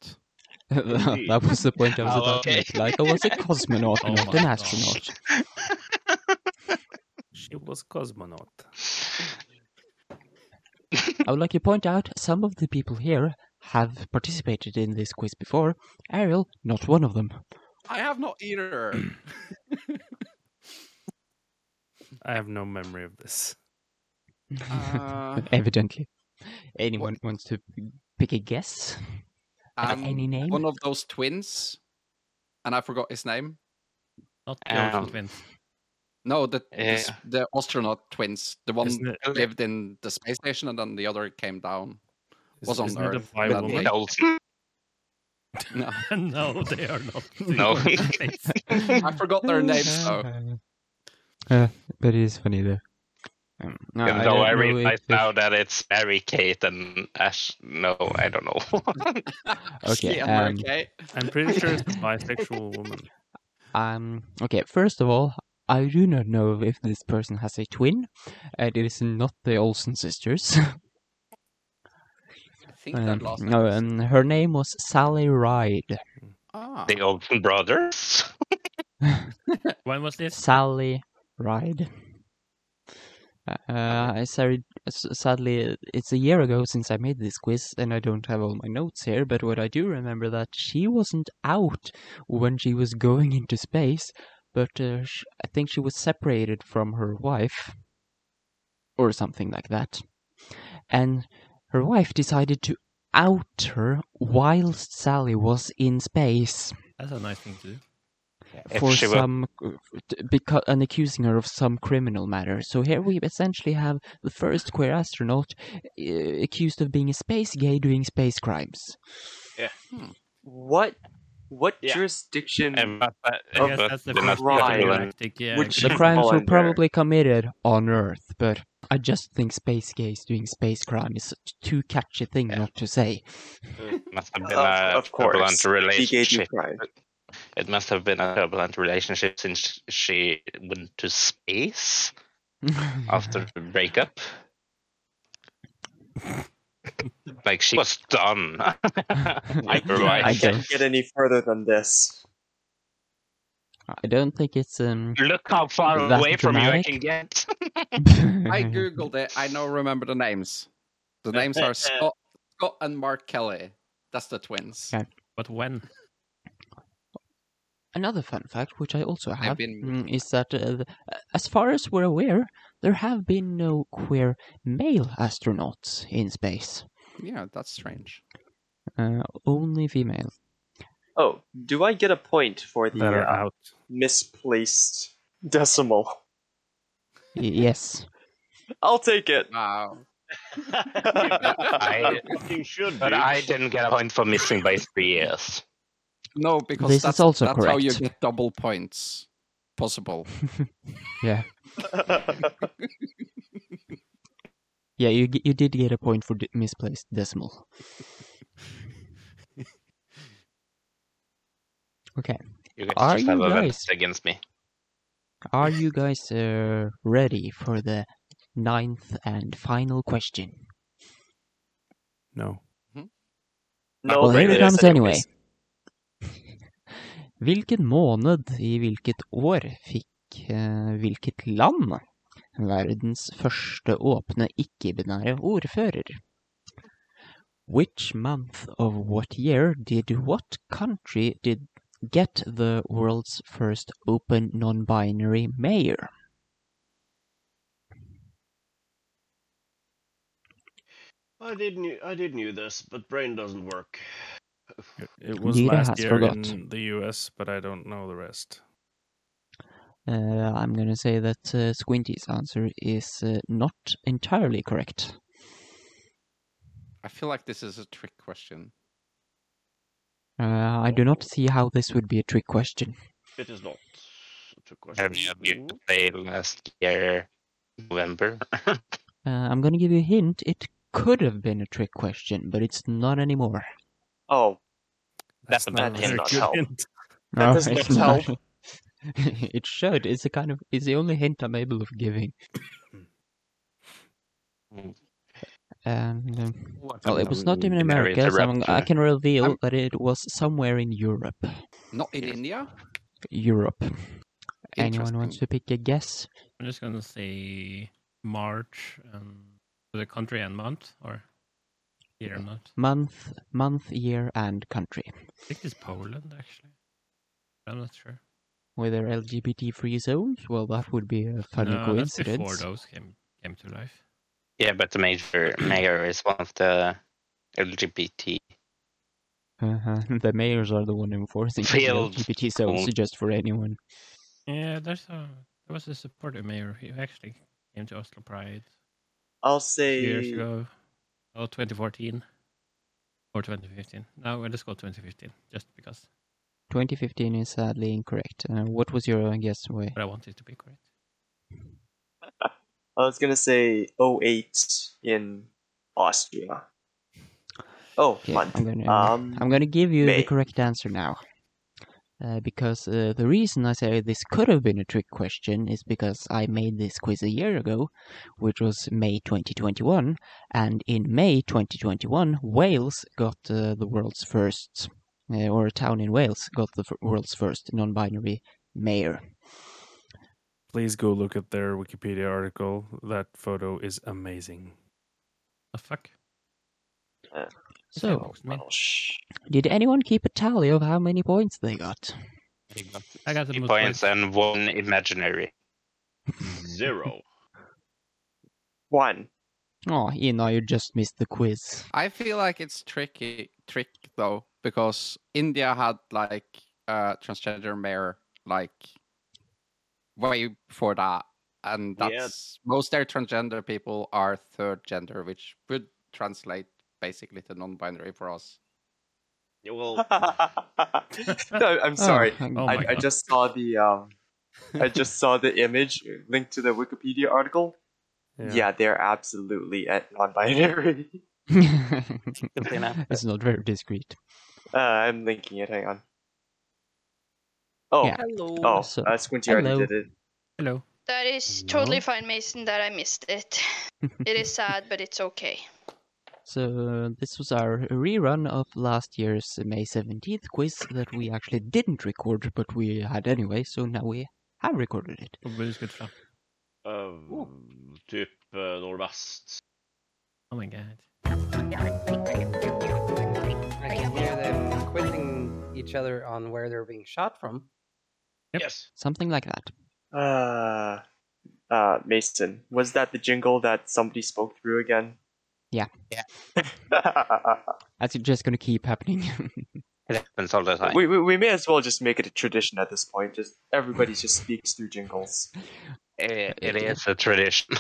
[SPEAKER 3] that,
[SPEAKER 6] Indeed.
[SPEAKER 3] that was the point I was
[SPEAKER 2] Oh,
[SPEAKER 3] about
[SPEAKER 2] okay.
[SPEAKER 3] to make. Like I was a cosmonaut,
[SPEAKER 1] Oh
[SPEAKER 3] not
[SPEAKER 1] my
[SPEAKER 3] an
[SPEAKER 1] God.
[SPEAKER 3] astronaut.
[SPEAKER 5] She was cosmonaut.
[SPEAKER 3] I would like to point out some of the people here have participated in this quiz before. Ariel, not one of them.
[SPEAKER 7] I have not either.
[SPEAKER 5] I have no memory of this.
[SPEAKER 7] Uh,
[SPEAKER 3] Evidently. Anyone wants to pick a guess? at
[SPEAKER 7] um,
[SPEAKER 3] any name?
[SPEAKER 7] one of those twins, and I forgot his name.
[SPEAKER 1] Not the
[SPEAKER 2] Um,
[SPEAKER 1] original twins.
[SPEAKER 7] No, the the, s-
[SPEAKER 2] Yeah.
[SPEAKER 7] the astronaut twins. The one
[SPEAKER 5] Isn't it-
[SPEAKER 7] lived in the space station, and then the other came down.
[SPEAKER 5] Is-
[SPEAKER 7] Was on
[SPEAKER 5] isn't it a
[SPEAKER 7] Earth,
[SPEAKER 5] bi
[SPEAKER 7] but
[SPEAKER 5] woman?
[SPEAKER 7] they-
[SPEAKER 2] Olsen.
[SPEAKER 7] No,
[SPEAKER 1] no, they are not. the
[SPEAKER 2] No.
[SPEAKER 1] original twins.
[SPEAKER 7] I forgot their names though.
[SPEAKER 3] Uh, but it is funny though. Um, no,
[SPEAKER 2] Even though
[SPEAKER 3] don't
[SPEAKER 2] I,
[SPEAKER 3] know if
[SPEAKER 2] realize
[SPEAKER 3] this-
[SPEAKER 2] now that it's Mary Kate and Ash. No, I don't know.
[SPEAKER 3] Okay,
[SPEAKER 7] Yeah,
[SPEAKER 3] um,
[SPEAKER 7] okay.
[SPEAKER 5] I'm pretty sure it's a bisexual woman.
[SPEAKER 3] Um, okay, first of all, I do not know if this person has a twin, and it is not the Olsen sisters.
[SPEAKER 7] I think
[SPEAKER 3] Um,
[SPEAKER 7] that last
[SPEAKER 3] no,
[SPEAKER 7] name is-
[SPEAKER 3] um, her name was Sally Ride.
[SPEAKER 7] Ah,
[SPEAKER 2] the Olsen brothers.
[SPEAKER 1] When was this?
[SPEAKER 3] Sally Ride. Uh,
[SPEAKER 1] Uh-huh.
[SPEAKER 3] I sorry, s- sadly, it's a year ago since I made this quiz, and I don't have all my notes here. But what I do remember that she wasn't out when she was going into space, but uh, sh- I think she was separated from her wife, or something like that. And her wife decided to out her whilst Sally was in space
[SPEAKER 1] That's a nice thing to do.
[SPEAKER 2] If
[SPEAKER 3] for
[SPEAKER 2] she were-
[SPEAKER 3] some because and accusing her of some criminal matter. So here we essentially have the first queer astronaut uh, accused of being a space gay doing space crimes.
[SPEAKER 4] What what
[SPEAKER 2] Yeah.
[SPEAKER 4] jurisdiction
[SPEAKER 2] And but, but,
[SPEAKER 1] I guess that's the
[SPEAKER 2] they're not
[SPEAKER 1] first
[SPEAKER 4] crime.
[SPEAKER 1] intergalactic, yeah,
[SPEAKER 4] Which-
[SPEAKER 3] The
[SPEAKER 4] Should
[SPEAKER 3] crimes
[SPEAKER 4] fall
[SPEAKER 3] were
[SPEAKER 4] under-
[SPEAKER 3] probably committed on Earth, but I just think space gays doing space crime is such too catchy thing not to say.
[SPEAKER 6] Hmm.
[SPEAKER 2] must have been a
[SPEAKER 4] of, of
[SPEAKER 2] turbulent
[SPEAKER 4] course
[SPEAKER 2] relationship.
[SPEAKER 4] DKD crime.
[SPEAKER 2] It must have been a turbulent relationship since she went to space after the breakup. like she was done. like her wife.
[SPEAKER 3] I don't,
[SPEAKER 4] Can't get any further than this.
[SPEAKER 3] I don't think it's um.
[SPEAKER 2] Look how far
[SPEAKER 3] Is that
[SPEAKER 2] away from you I can
[SPEAKER 3] dramatic?
[SPEAKER 2] get.
[SPEAKER 7] I googled it. I now remember the names. The names are Scott, Scott and Mark Kelly. That's the twins.
[SPEAKER 3] Okay.
[SPEAKER 1] But when?
[SPEAKER 3] Another fun fact, which I also have,
[SPEAKER 7] been-
[SPEAKER 3] mm, is that uh, th- as far as we're aware, there have been no queer male astronauts in space,
[SPEAKER 7] Yeah, that's strange.
[SPEAKER 3] uh, only female.
[SPEAKER 4] Oh, do I get a point for the
[SPEAKER 5] That are
[SPEAKER 4] uh,
[SPEAKER 5] out.
[SPEAKER 4] misplaced decimal?
[SPEAKER 3] Y- yes.
[SPEAKER 4] I'll take it.
[SPEAKER 7] Wow.
[SPEAKER 2] I,
[SPEAKER 6] Fucking should
[SPEAKER 2] but
[SPEAKER 6] be.
[SPEAKER 2] I didn't get a point for missing by three years.
[SPEAKER 7] No, because
[SPEAKER 3] This is
[SPEAKER 7] that's,
[SPEAKER 3] also
[SPEAKER 7] that's how you
[SPEAKER 3] correct.
[SPEAKER 7] get double points possible.
[SPEAKER 3] Yeah. Yeah, you g- you did get a point for d- misplaced decimal. okay,
[SPEAKER 2] You guys
[SPEAKER 3] Are
[SPEAKER 2] just
[SPEAKER 3] you
[SPEAKER 2] have a vendetta
[SPEAKER 3] guys-
[SPEAKER 2] against me.
[SPEAKER 3] are you guys uh, ready for the ninth and final question?
[SPEAKER 5] No.
[SPEAKER 4] No,
[SPEAKER 3] well, here
[SPEAKER 4] wait,
[SPEAKER 3] it
[SPEAKER 4] wait,
[SPEAKER 3] comes
[SPEAKER 4] wait.
[SPEAKER 3] anyway. Hvilken måned i hvilket år fikk eh, hvilket land verdens første åpne ikke-binære ordfører? Which month of what year did what country did get the world's first open non-binary mayor?
[SPEAKER 6] I did knew I did knew this, but brain doesn't work.
[SPEAKER 5] It, it was
[SPEAKER 3] Neither
[SPEAKER 5] last
[SPEAKER 3] has
[SPEAKER 5] year
[SPEAKER 3] forgot.
[SPEAKER 5] in the US, but I don't know the rest.
[SPEAKER 3] Uh, I'm gonna say that uh, Squinty's answer is uh, not entirely correct.
[SPEAKER 7] I feel like this is a trick question.
[SPEAKER 3] Uh, I do not see how this would be a trick question.
[SPEAKER 6] It is not. Two
[SPEAKER 2] Have
[SPEAKER 6] questions.
[SPEAKER 2] you been to play last year, November?
[SPEAKER 3] Uh, I'm gonna give you a hint. It could have been a trick question, but it's not anymore.
[SPEAKER 4] Oh,
[SPEAKER 2] That's a
[SPEAKER 5] not
[SPEAKER 2] bad
[SPEAKER 5] a
[SPEAKER 4] hint,
[SPEAKER 5] very
[SPEAKER 4] not
[SPEAKER 5] good
[SPEAKER 4] help.
[SPEAKER 5] hint.
[SPEAKER 4] That does not help.
[SPEAKER 3] it should. It's the kind of. It's the only hint I'm able of giving.
[SPEAKER 2] Mm.
[SPEAKER 3] And um,
[SPEAKER 2] What
[SPEAKER 3] well,
[SPEAKER 2] kind
[SPEAKER 3] it was
[SPEAKER 2] of
[SPEAKER 3] not in
[SPEAKER 2] binary
[SPEAKER 3] America, so I'm, I
[SPEAKER 2] interruption?
[SPEAKER 3] can reveal
[SPEAKER 7] I'm-
[SPEAKER 3] that it was somewhere in Europe.
[SPEAKER 7] Not in
[SPEAKER 2] Yes.
[SPEAKER 7] India?
[SPEAKER 3] Europe. Anyone wants
[SPEAKER 7] Interesting.
[SPEAKER 3] to pick a guess?
[SPEAKER 1] I'm just gonna say March and the country and month or year and month.
[SPEAKER 3] Month, month, year, and country.
[SPEAKER 1] I think it's Poland actually. I'm not sure.
[SPEAKER 3] Were there LGBT-free zones? Well, that would be a funny
[SPEAKER 1] No, that's before
[SPEAKER 3] coincidence.
[SPEAKER 1] those came came to life.
[SPEAKER 2] Yeah, but the major mayor is one of the LGBT.
[SPEAKER 3] Uh-huh. The mayors are the one enforcing the
[SPEAKER 2] Failed
[SPEAKER 3] LGBT zones
[SPEAKER 2] school.
[SPEAKER 3] just for anyone.
[SPEAKER 1] Yeah, there's a there was a supporter mayor who actually came to Oslo Pride
[SPEAKER 4] I'll
[SPEAKER 1] two years
[SPEAKER 4] say
[SPEAKER 1] ago. Oh, 2014 or 2015. No, we'll just go 2015 just because.
[SPEAKER 3] 2015 is sadly incorrect. Uh, what was your guess, Way?
[SPEAKER 1] But I want it to be correct.
[SPEAKER 4] I was gonna say 08 in Austria. Oh,
[SPEAKER 3] Okay,
[SPEAKER 4] month.
[SPEAKER 3] I'm gonna
[SPEAKER 4] Um,
[SPEAKER 3] I'm gonna give you the
[SPEAKER 4] May.
[SPEAKER 3] correct answer now. Uh, because uh, the reason I say this could have been a trick question is because I made this quiz a year ago, which was May 2021, and in May 2021, Wales got uh, the world's first, uh, or a town in Wales got the f- world's first non-binary mayor.
[SPEAKER 5] Please go look at their Wikipedia article. That photo is amazing.
[SPEAKER 1] The fuck?
[SPEAKER 3] So,
[SPEAKER 1] Looks mean.
[SPEAKER 4] oh, sh-
[SPEAKER 3] Did anyone keep a tally of how many points they got?
[SPEAKER 1] I got the
[SPEAKER 2] Three
[SPEAKER 1] most
[SPEAKER 2] points and one imaginary.
[SPEAKER 6] Zero.
[SPEAKER 4] One.
[SPEAKER 3] Oh, you know, you just missed the quiz.
[SPEAKER 7] I feel like it's tricky trick though, because India had like a transgender mayor like way before that. And
[SPEAKER 6] Yeah.
[SPEAKER 7] that's most their transgender people are third gender, which would translate basically to non binary for us.
[SPEAKER 6] Yeah, Well,
[SPEAKER 4] no, I'm sorry.
[SPEAKER 3] Oh,
[SPEAKER 1] Oh my
[SPEAKER 4] I, I
[SPEAKER 1] God.
[SPEAKER 4] just saw the um, I just saw the image linked to the Wikipedia article. Yeah, they're absolutely at non-binary.
[SPEAKER 2] Simply not.
[SPEAKER 3] it's not very discreet.
[SPEAKER 4] Uh, I'm linking it. Hang on. Oh,
[SPEAKER 3] Yeah.
[SPEAKER 4] hello. Oh,
[SPEAKER 3] So-
[SPEAKER 4] uh, Squinty already
[SPEAKER 3] hello.
[SPEAKER 4] did it.
[SPEAKER 1] Hello.
[SPEAKER 10] That is totally fine, Mason, that I missed it. It is sad, but it's okay.
[SPEAKER 3] So uh, this was our rerun of last year's May 17th quiz that we actually didn't record, but we had anyway, so now we have recorded it.
[SPEAKER 1] Väldigt good fram.
[SPEAKER 6] uh, typ uh, nordvest.
[SPEAKER 1] Oh my god.
[SPEAKER 11] I can hear them quizzing each other on where they're being shot from.
[SPEAKER 1] Yep.
[SPEAKER 6] Yes.
[SPEAKER 3] Something like that.
[SPEAKER 4] Uh, uh, Mason, was that the jingle that somebody spoke through again?
[SPEAKER 3] Yeah.
[SPEAKER 2] Yeah.
[SPEAKER 3] That's just gonna keep happening.
[SPEAKER 2] It happens all the time.
[SPEAKER 4] we, we we may as well just make it a tradition at this point. Just everybody just speaks through jingles.
[SPEAKER 2] It- it is a tradition.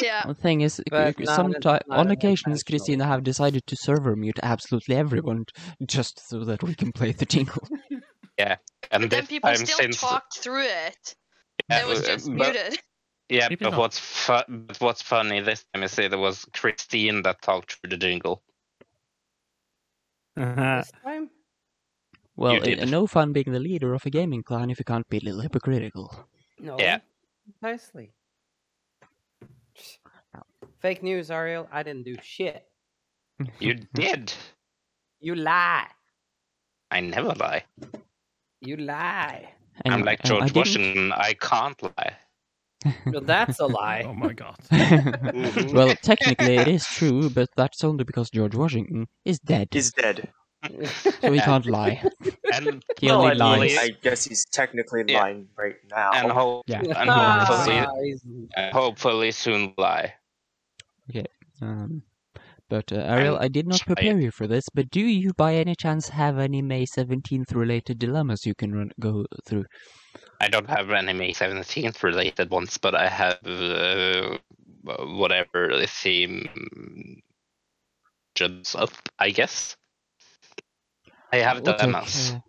[SPEAKER 10] Yeah.
[SPEAKER 3] the thing is,
[SPEAKER 11] But not as-
[SPEAKER 3] sometimes
[SPEAKER 11] not
[SPEAKER 3] on
[SPEAKER 11] as
[SPEAKER 3] occasions,
[SPEAKER 11] intentional.
[SPEAKER 3] Christina have decided to server mute absolutely everyone just so that we can play the jingle.
[SPEAKER 2] and
[SPEAKER 10] But then
[SPEAKER 2] this
[SPEAKER 10] people
[SPEAKER 2] time
[SPEAKER 10] still
[SPEAKER 2] since
[SPEAKER 10] talked through it.
[SPEAKER 2] Yeah,
[SPEAKER 10] It was just
[SPEAKER 2] Uh, but-
[SPEAKER 10] muted.
[SPEAKER 2] Yeah,
[SPEAKER 1] Maybe
[SPEAKER 2] but
[SPEAKER 1] not.
[SPEAKER 2] what's fu- but what's funny this time is that it was Christine that talked through the jingle.
[SPEAKER 11] This time?
[SPEAKER 3] Well,
[SPEAKER 2] You did.
[SPEAKER 3] uh, no fun being the leader of a gaming clan if you can't be a little hypocritical.
[SPEAKER 11] No.
[SPEAKER 2] Yeah.
[SPEAKER 11] Precisely. Fake news, Ariel. I didn't do shit.
[SPEAKER 2] You did.
[SPEAKER 11] You lie.
[SPEAKER 2] I never lie.
[SPEAKER 11] You lie.
[SPEAKER 2] I'm like
[SPEAKER 3] um, I
[SPEAKER 2] George
[SPEAKER 3] didn't-
[SPEAKER 2] Washington. I can't lie.
[SPEAKER 11] Well, that's a lie.
[SPEAKER 1] Oh my god.
[SPEAKER 3] well, technically it is true, but that's only because George Washington is dead,
[SPEAKER 4] He's dead.
[SPEAKER 3] so he can't lie.
[SPEAKER 2] And
[SPEAKER 3] He only
[SPEAKER 4] Well, I mean,
[SPEAKER 3] lies.
[SPEAKER 4] I guess he's technically
[SPEAKER 2] Yeah.
[SPEAKER 4] lying right now.
[SPEAKER 2] and hope
[SPEAKER 3] Yeah.
[SPEAKER 2] and hopefully and hopefully soon lie.
[SPEAKER 3] Okay. Um, but uh, Ariel, I did not prepare you for this. But do you, by any chance, have any May seventeenth related dilemmas you can run, go through?
[SPEAKER 2] I don't have any May seventeenth related ones, but I have uh, whatever the theme jumps up. I guess I have
[SPEAKER 3] Looks like,
[SPEAKER 2] dilemmas.
[SPEAKER 3] uh,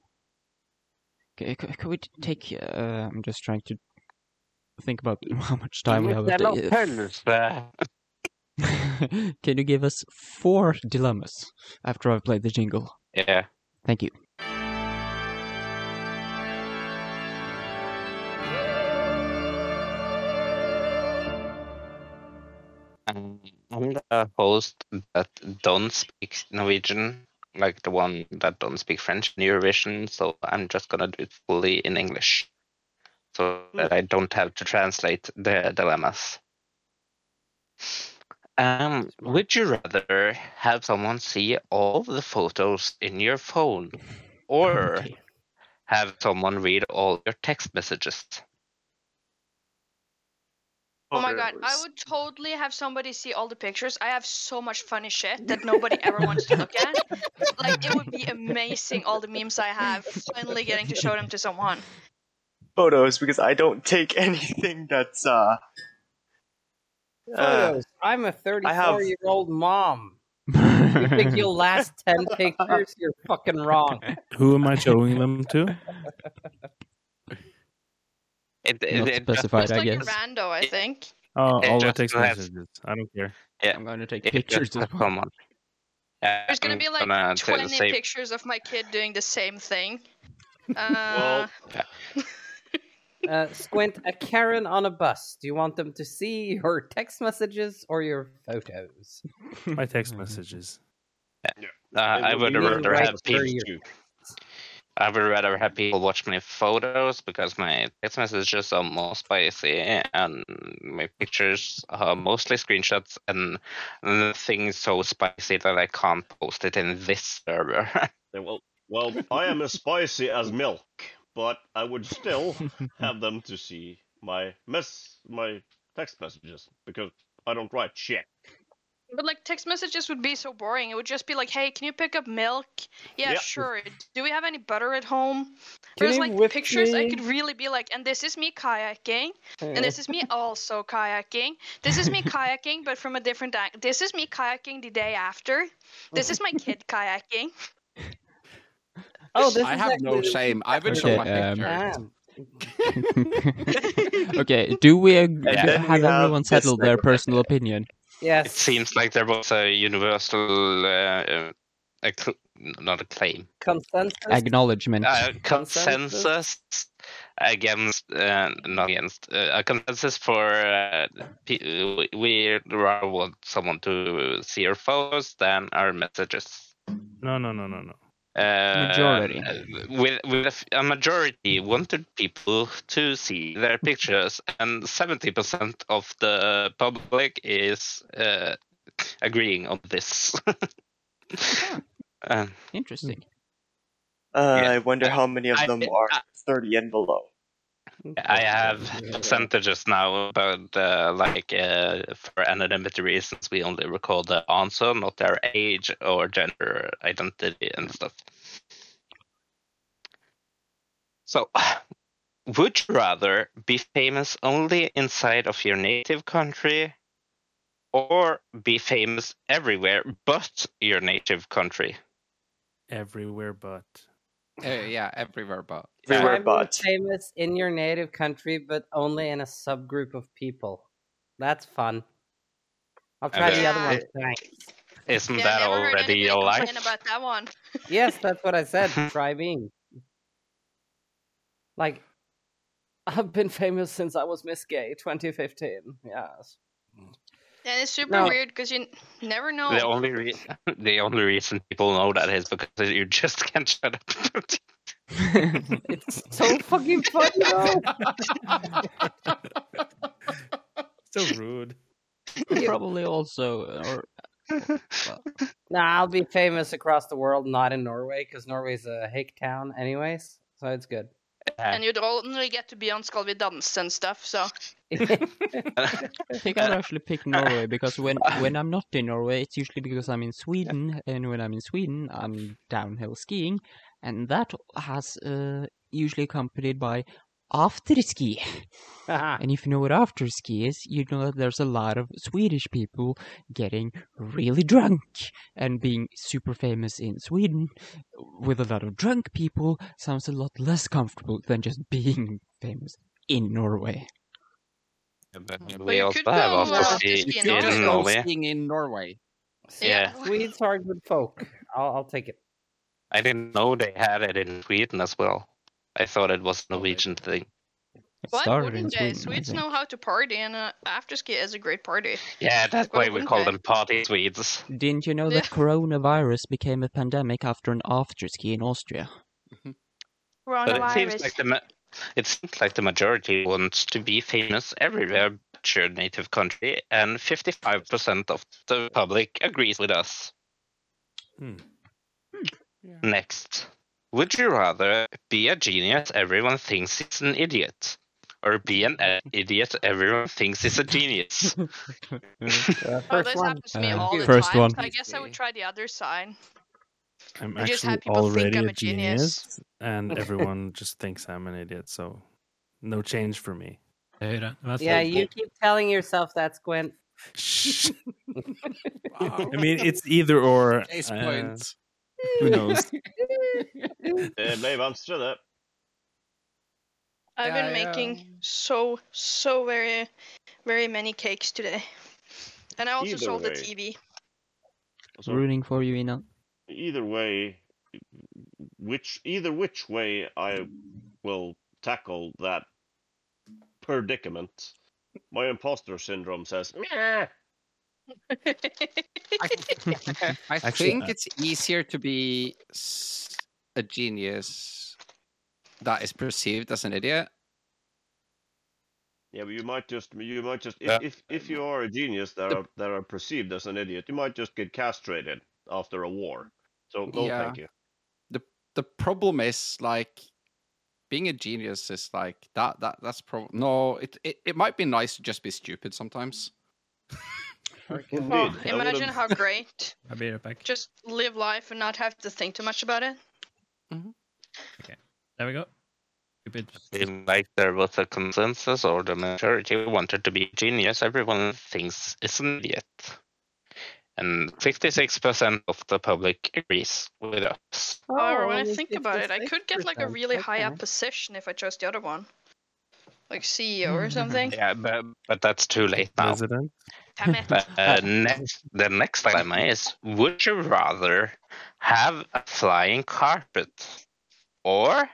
[SPEAKER 3] c- c- Can we t- take? Uh, I'm just trying to think about how much time we have. left. Uh, Can you give us four dilemmas after I've played the jingle?
[SPEAKER 2] Yeah.
[SPEAKER 3] Thank you.
[SPEAKER 2] Um, I'm the host that don't speak Norwegian, like the one that don't speak French in Eurovision, so I'm just gonna do it fully in English. So that I don't have to translate the dilemmas. Um, would you rather have someone see all the photos in your phone or have someone read all your text messages?
[SPEAKER 10] Oh my god, I would totally have somebody see all the pictures. I have so much funny shit that nobody ever wants to look at. Like it would be amazing all the memes I have finally getting to show them to someone.
[SPEAKER 4] Photos, because I don't take anything that's uh. uh,
[SPEAKER 11] Photos. I'm a 34 year old mom. You think you'll last 10 pictures? You're fucking wrong.
[SPEAKER 5] Who am I showing them to?
[SPEAKER 2] It,
[SPEAKER 5] Not specified,
[SPEAKER 2] just-
[SPEAKER 5] I
[SPEAKER 10] Like a
[SPEAKER 5] guess.
[SPEAKER 10] rando, I think.
[SPEAKER 5] Oh,
[SPEAKER 2] It
[SPEAKER 5] all the
[SPEAKER 2] just
[SPEAKER 5] text
[SPEAKER 2] has-
[SPEAKER 5] messages. I don't care.
[SPEAKER 2] Yeah.
[SPEAKER 3] I'm going to take
[SPEAKER 2] pictures of someone. Yeah,
[SPEAKER 10] There's gonna
[SPEAKER 2] I'm
[SPEAKER 10] be like
[SPEAKER 2] gonna t-
[SPEAKER 10] 20
[SPEAKER 2] save-
[SPEAKER 10] pictures of my kid doing the same thing. Uh,
[SPEAKER 11] Uh, Squint, a Karen on a bus. Do you want them to see your text messages or your photos?
[SPEAKER 5] My text messages.
[SPEAKER 2] Uh, I
[SPEAKER 11] will
[SPEAKER 2] would
[SPEAKER 11] be
[SPEAKER 2] rather
[SPEAKER 11] right
[SPEAKER 2] have
[SPEAKER 11] per
[SPEAKER 2] people. I would rather have people watch my photos because my text messages are more spicy and my pictures are mostly screenshots and nothing so spicy that I can't post it in this server.
[SPEAKER 6] They will- well, I am as spicy as milk, but I would still have them to see my mess, my text messages because I don't write shit.
[SPEAKER 10] but like text messages would be so boring. It would just be like, "Hey, can you pick up milk?" Yeah,
[SPEAKER 6] Yeah.
[SPEAKER 10] sure. Do we have any butter at home?
[SPEAKER 11] Can
[SPEAKER 10] Whereas
[SPEAKER 11] you
[SPEAKER 10] like
[SPEAKER 11] whip
[SPEAKER 10] pictures, I
[SPEAKER 11] me?
[SPEAKER 10] could really be like, "And this is me kayaking, and this is me also kayaking. This is me kayaking, but from a different angle. This is me kayaking the day after. This is my kid kayaking."
[SPEAKER 11] Oh, this
[SPEAKER 7] I
[SPEAKER 11] is
[SPEAKER 7] have
[SPEAKER 11] actually
[SPEAKER 7] no
[SPEAKER 11] Uh, the-
[SPEAKER 7] shame. I would show
[SPEAKER 3] Okay,
[SPEAKER 7] my
[SPEAKER 3] um,
[SPEAKER 7] picture.
[SPEAKER 11] Damn.
[SPEAKER 3] okay, do we ag-
[SPEAKER 2] And then we
[SPEAKER 3] have
[SPEAKER 2] have
[SPEAKER 3] everyone
[SPEAKER 2] this
[SPEAKER 3] settle their
[SPEAKER 2] segment.
[SPEAKER 3] personal opinion?
[SPEAKER 2] It
[SPEAKER 11] Yes.
[SPEAKER 2] seems like there was a universal, uh, uh, a cl- not a claim,
[SPEAKER 11] Consensus.
[SPEAKER 3] Acknowledgement.
[SPEAKER 2] uh,
[SPEAKER 11] Consensus?
[SPEAKER 2] consensus against uh, not against uh, a consensus for uh, pe- we- we rather want someone to see our photos than our messages.
[SPEAKER 5] No, no, no, no, no.
[SPEAKER 2] Uh,
[SPEAKER 3] Majority.
[SPEAKER 2] With, with a, f- a majority wanted people to see their pictures, and 70% of the public is uh, agreeing on this. Um,
[SPEAKER 3] Interesting.
[SPEAKER 4] Uh,
[SPEAKER 2] Yeah.
[SPEAKER 4] I wonder how many of
[SPEAKER 2] I- uh,
[SPEAKER 4] them are 30 and below.
[SPEAKER 2] I have percentages now, but uh, like uh, for anonymity reasons, we only record the answer, not their age or gender identity and stuff. So, would you rather be famous only inside of your native country, or be famous everywhere but your native country?
[SPEAKER 5] Everywhere but.
[SPEAKER 7] Eh, yeah, everywhere but.
[SPEAKER 11] Try being famous in your native country, but only in a subgroup of people. That's fun. I'll try the other one. Thanks.
[SPEAKER 2] Isn't
[SPEAKER 11] Yeah,
[SPEAKER 2] that
[SPEAKER 11] never heard
[SPEAKER 2] already
[SPEAKER 11] anybody
[SPEAKER 2] your
[SPEAKER 11] complain
[SPEAKER 2] life?
[SPEAKER 10] Complain about that one.
[SPEAKER 11] Yes, that's what I said. Try being. Like, I've been famous since I was Miss Gay 2015. Yes.
[SPEAKER 10] And it's super
[SPEAKER 11] No.
[SPEAKER 10] weird because you n- never know.
[SPEAKER 2] The only re- the only reason people know that is because you just can't shut up. about it.
[SPEAKER 11] It's so fucking funny, though.
[SPEAKER 5] So rude.
[SPEAKER 3] Probably also, or
[SPEAKER 11] Nah, I'll be famous across the world, not in Norway, because Norway's a hick town, anyways. So it's good.
[SPEAKER 10] And you'd only get to be on Skal vi danse and stuff, so.
[SPEAKER 3] I think I'd actually pick
[SPEAKER 2] Uh,
[SPEAKER 3] Norway because when when I'm not in Norway, it's usually because I'm in Sweden, and when I'm in Sweden, I'm downhill skiing, and that has uh, usually accompanied by after ski. and if you know what after ski is, you know that there's a lot of Swedish people getting really drunk and being super famous in Sweden. With a lot of drunk people, sounds a lot less comfortable than just being famous in Norway.
[SPEAKER 2] we also have also ski in Norway.
[SPEAKER 7] skiing in Norway.
[SPEAKER 2] Yeah.
[SPEAKER 11] Swedes are good folk. I'll, I'll take it.
[SPEAKER 2] I didn't know they had it in Sweden as well. I thought it was a Norwegian thing.
[SPEAKER 10] Why
[SPEAKER 2] started
[SPEAKER 10] wouldn't
[SPEAKER 2] in
[SPEAKER 10] they?
[SPEAKER 2] Sweden, I
[SPEAKER 10] Swedes
[SPEAKER 2] think.
[SPEAKER 10] know how to party, and uh, after ski is a great party.
[SPEAKER 2] Yeah, that's why we
[SPEAKER 10] wouldn't
[SPEAKER 2] call
[SPEAKER 10] they?
[SPEAKER 2] them party Swedes.
[SPEAKER 3] Didn't you know that coronavirus became a pandemic after an after ski in Austria?
[SPEAKER 2] But it seems like the ma- it seems like the majority wants to be famous everywhere but your native country, and 55% of the public agrees with us. Next, would you rather be a genius everyone thinks is an idiot, or be an i- idiot everyone thinks is a genius?
[SPEAKER 10] oh, this happens to me all the
[SPEAKER 5] first
[SPEAKER 10] time.
[SPEAKER 5] one.
[SPEAKER 10] So I guess I would try the other side.
[SPEAKER 5] I'm
[SPEAKER 10] I just
[SPEAKER 5] actually
[SPEAKER 10] had people think
[SPEAKER 5] already
[SPEAKER 10] I'm
[SPEAKER 5] a
[SPEAKER 10] a genius.
[SPEAKER 5] genius, and everyone just thinks I'm an idiot. So, no change for me.
[SPEAKER 11] yeah, you keep telling yourself that, Squint.
[SPEAKER 5] I mean, it's either or.
[SPEAKER 11] Case
[SPEAKER 5] uh,
[SPEAKER 11] point.
[SPEAKER 5] who knows?
[SPEAKER 6] Eh, babe, I'm still there.
[SPEAKER 10] I've
[SPEAKER 6] Yeah,
[SPEAKER 10] been
[SPEAKER 6] yeah.
[SPEAKER 10] making so so very very many cakes today, and I also
[SPEAKER 6] Either
[SPEAKER 10] sold
[SPEAKER 6] way.
[SPEAKER 10] a TV.
[SPEAKER 3] Rooting for you, Ina.
[SPEAKER 6] Either way, which either which way I will tackle that predicament. My imposter syndrome says,
[SPEAKER 11] Ah.
[SPEAKER 6] "Meh."
[SPEAKER 7] I
[SPEAKER 5] Actually,
[SPEAKER 7] think
[SPEAKER 5] uh,
[SPEAKER 7] it's easier to be s- a genius that is perceived as an idiot.
[SPEAKER 6] Yeah, but you might just you might just if
[SPEAKER 7] Yeah.
[SPEAKER 6] if, if you are a genius that are that are perceived as an idiot, you might just get castrated after a war. So no,
[SPEAKER 7] Yeah.
[SPEAKER 6] thank you.
[SPEAKER 7] The the problem is like being a genius is like that that that's pro no it, it it might be nice to just be stupid sometimes.
[SPEAKER 10] Oh, imagine how great.
[SPEAKER 1] I'll be right back.
[SPEAKER 10] Just live life and not have to think too much about it.
[SPEAKER 1] There we go. Stupid.
[SPEAKER 2] Seemed like there was a consensus, or the majority wanted to be a genius. Everyone thinks is an idiot, and 66% of the public agrees with us.
[SPEAKER 10] However, when I
[SPEAKER 11] only
[SPEAKER 10] think about it, I could get like a
[SPEAKER 11] 56%,
[SPEAKER 10] really high up
[SPEAKER 11] okay.
[SPEAKER 10] position if I chose the other one, like CEO or something.
[SPEAKER 2] Yeah, but but that's too late now.
[SPEAKER 5] President.
[SPEAKER 10] Damn it.
[SPEAKER 2] But, uh, next, the next dilemma is: Would you rather have a flying carpet, or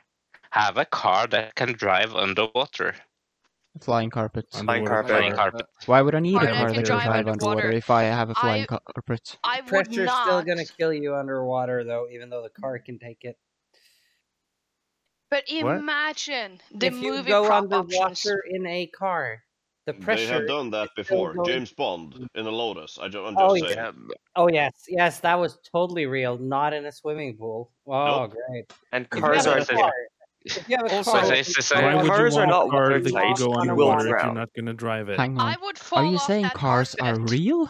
[SPEAKER 2] have a car that can drive underwater?
[SPEAKER 3] Flying carpet.
[SPEAKER 2] Flying carpet. Flying carpet.
[SPEAKER 3] Why would I need
[SPEAKER 10] Or if
[SPEAKER 3] a car
[SPEAKER 10] you
[SPEAKER 3] that can
[SPEAKER 10] drive
[SPEAKER 3] drive underwater
[SPEAKER 10] underwater.
[SPEAKER 3] if I have a flying
[SPEAKER 10] I-
[SPEAKER 3] carpet?
[SPEAKER 10] I would
[SPEAKER 11] Pressure's still
[SPEAKER 10] not.
[SPEAKER 11] gonna kill you underwater, though, even though the car can take it.
[SPEAKER 10] But
[SPEAKER 11] What?
[SPEAKER 10] imagine the
[SPEAKER 11] if you
[SPEAKER 10] movie
[SPEAKER 11] go
[SPEAKER 10] prop
[SPEAKER 11] underwater
[SPEAKER 10] options.
[SPEAKER 11] in a car, the
[SPEAKER 6] They
[SPEAKER 11] pressure.
[SPEAKER 6] have done that
[SPEAKER 11] is still
[SPEAKER 6] before.
[SPEAKER 11] going-
[SPEAKER 6] James Bond in the Lotus. I am just
[SPEAKER 11] Oh,
[SPEAKER 6] saying.
[SPEAKER 11] yeah. Oh yes, yes, that was totally real. Not in a swimming pool. Oh
[SPEAKER 6] Nope.
[SPEAKER 11] great.
[SPEAKER 4] And
[SPEAKER 11] If you
[SPEAKER 4] cars
[SPEAKER 11] have a
[SPEAKER 4] are
[SPEAKER 11] car- If you have a
[SPEAKER 4] Also,
[SPEAKER 11] car,
[SPEAKER 4] it's the same-
[SPEAKER 5] Why would you
[SPEAKER 4] Cars are
[SPEAKER 5] want
[SPEAKER 4] not
[SPEAKER 5] a car that can
[SPEAKER 4] watertight.
[SPEAKER 5] go
[SPEAKER 4] You will
[SPEAKER 5] underwater if you're
[SPEAKER 4] drown.
[SPEAKER 5] not going to drive it?
[SPEAKER 3] Hang on.
[SPEAKER 10] I would fall
[SPEAKER 3] Are you
[SPEAKER 10] off
[SPEAKER 3] saying
[SPEAKER 10] that
[SPEAKER 3] cars are
[SPEAKER 10] carpet.
[SPEAKER 3] real?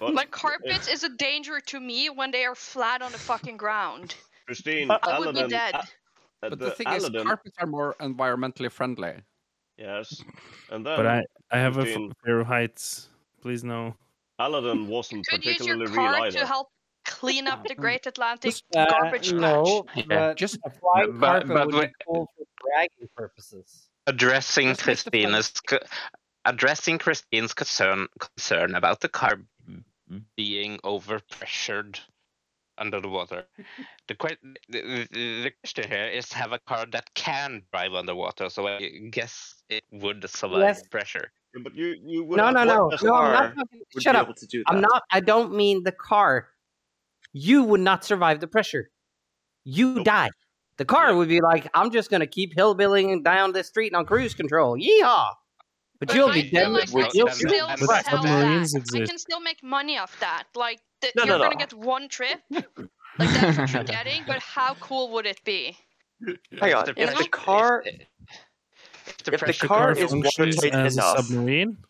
[SPEAKER 10] Like carpets is a danger to me when they are flat on the fucking ground.
[SPEAKER 6] Christine,
[SPEAKER 10] I would be
[SPEAKER 6] Aladdin-
[SPEAKER 10] dead.
[SPEAKER 6] uh,
[SPEAKER 7] But the, thing is,
[SPEAKER 6] Aladdin-
[SPEAKER 7] carpets are more environmentally friendly.
[SPEAKER 6] Yes, and then
[SPEAKER 5] But I, I have a f-
[SPEAKER 6] Christine,
[SPEAKER 5] fear of heights. Please no.
[SPEAKER 6] Aladdin wasn't
[SPEAKER 10] Could use your
[SPEAKER 6] particularly real
[SPEAKER 10] car
[SPEAKER 6] either.
[SPEAKER 10] to help Clean up the Great Atlantic
[SPEAKER 11] Uh,
[SPEAKER 10] garbage
[SPEAKER 11] no,
[SPEAKER 10] patch.
[SPEAKER 11] but
[SPEAKER 2] Just-
[SPEAKER 11] a flying
[SPEAKER 2] but-
[SPEAKER 11] carpet
[SPEAKER 2] but
[SPEAKER 11] would
[SPEAKER 2] we-
[SPEAKER 11] be cool for bragging purposes.
[SPEAKER 2] addressing Christina's co- addressing Christine's concern concern about the car b- being overpressured under the water. The, que- the, the the question here is have a car that can drive underwater, so I guess it would survive
[SPEAKER 11] Yes.
[SPEAKER 2] pressure.
[SPEAKER 6] But you, you
[SPEAKER 11] No, no, no, no! I'm not talking, shut up. I'm not. I don't mean the car. You would not survive the pressure. You die. The car would be like, I'm just gonna keep hillbillying down this street on cruise control. Yeehaw! But, you'll be dead.
[SPEAKER 10] Like, I
[SPEAKER 11] you'll
[SPEAKER 10] can still
[SPEAKER 11] be
[SPEAKER 10] sell
[SPEAKER 11] dead.
[SPEAKER 10] that. I can still make money off that. Like, th-
[SPEAKER 11] No,
[SPEAKER 10] you're
[SPEAKER 11] no, no.
[SPEAKER 10] gonna get one trip. Like that's what you're getting, but how cool would it be?
[SPEAKER 4] Hang on.
[SPEAKER 2] The
[SPEAKER 4] If the
[SPEAKER 2] pressure-
[SPEAKER 4] car,
[SPEAKER 2] the
[SPEAKER 4] if the
[SPEAKER 2] pressure
[SPEAKER 4] car
[SPEAKER 2] comes
[SPEAKER 4] is
[SPEAKER 2] from-
[SPEAKER 4] watertight
[SPEAKER 5] as a
[SPEAKER 4] enough,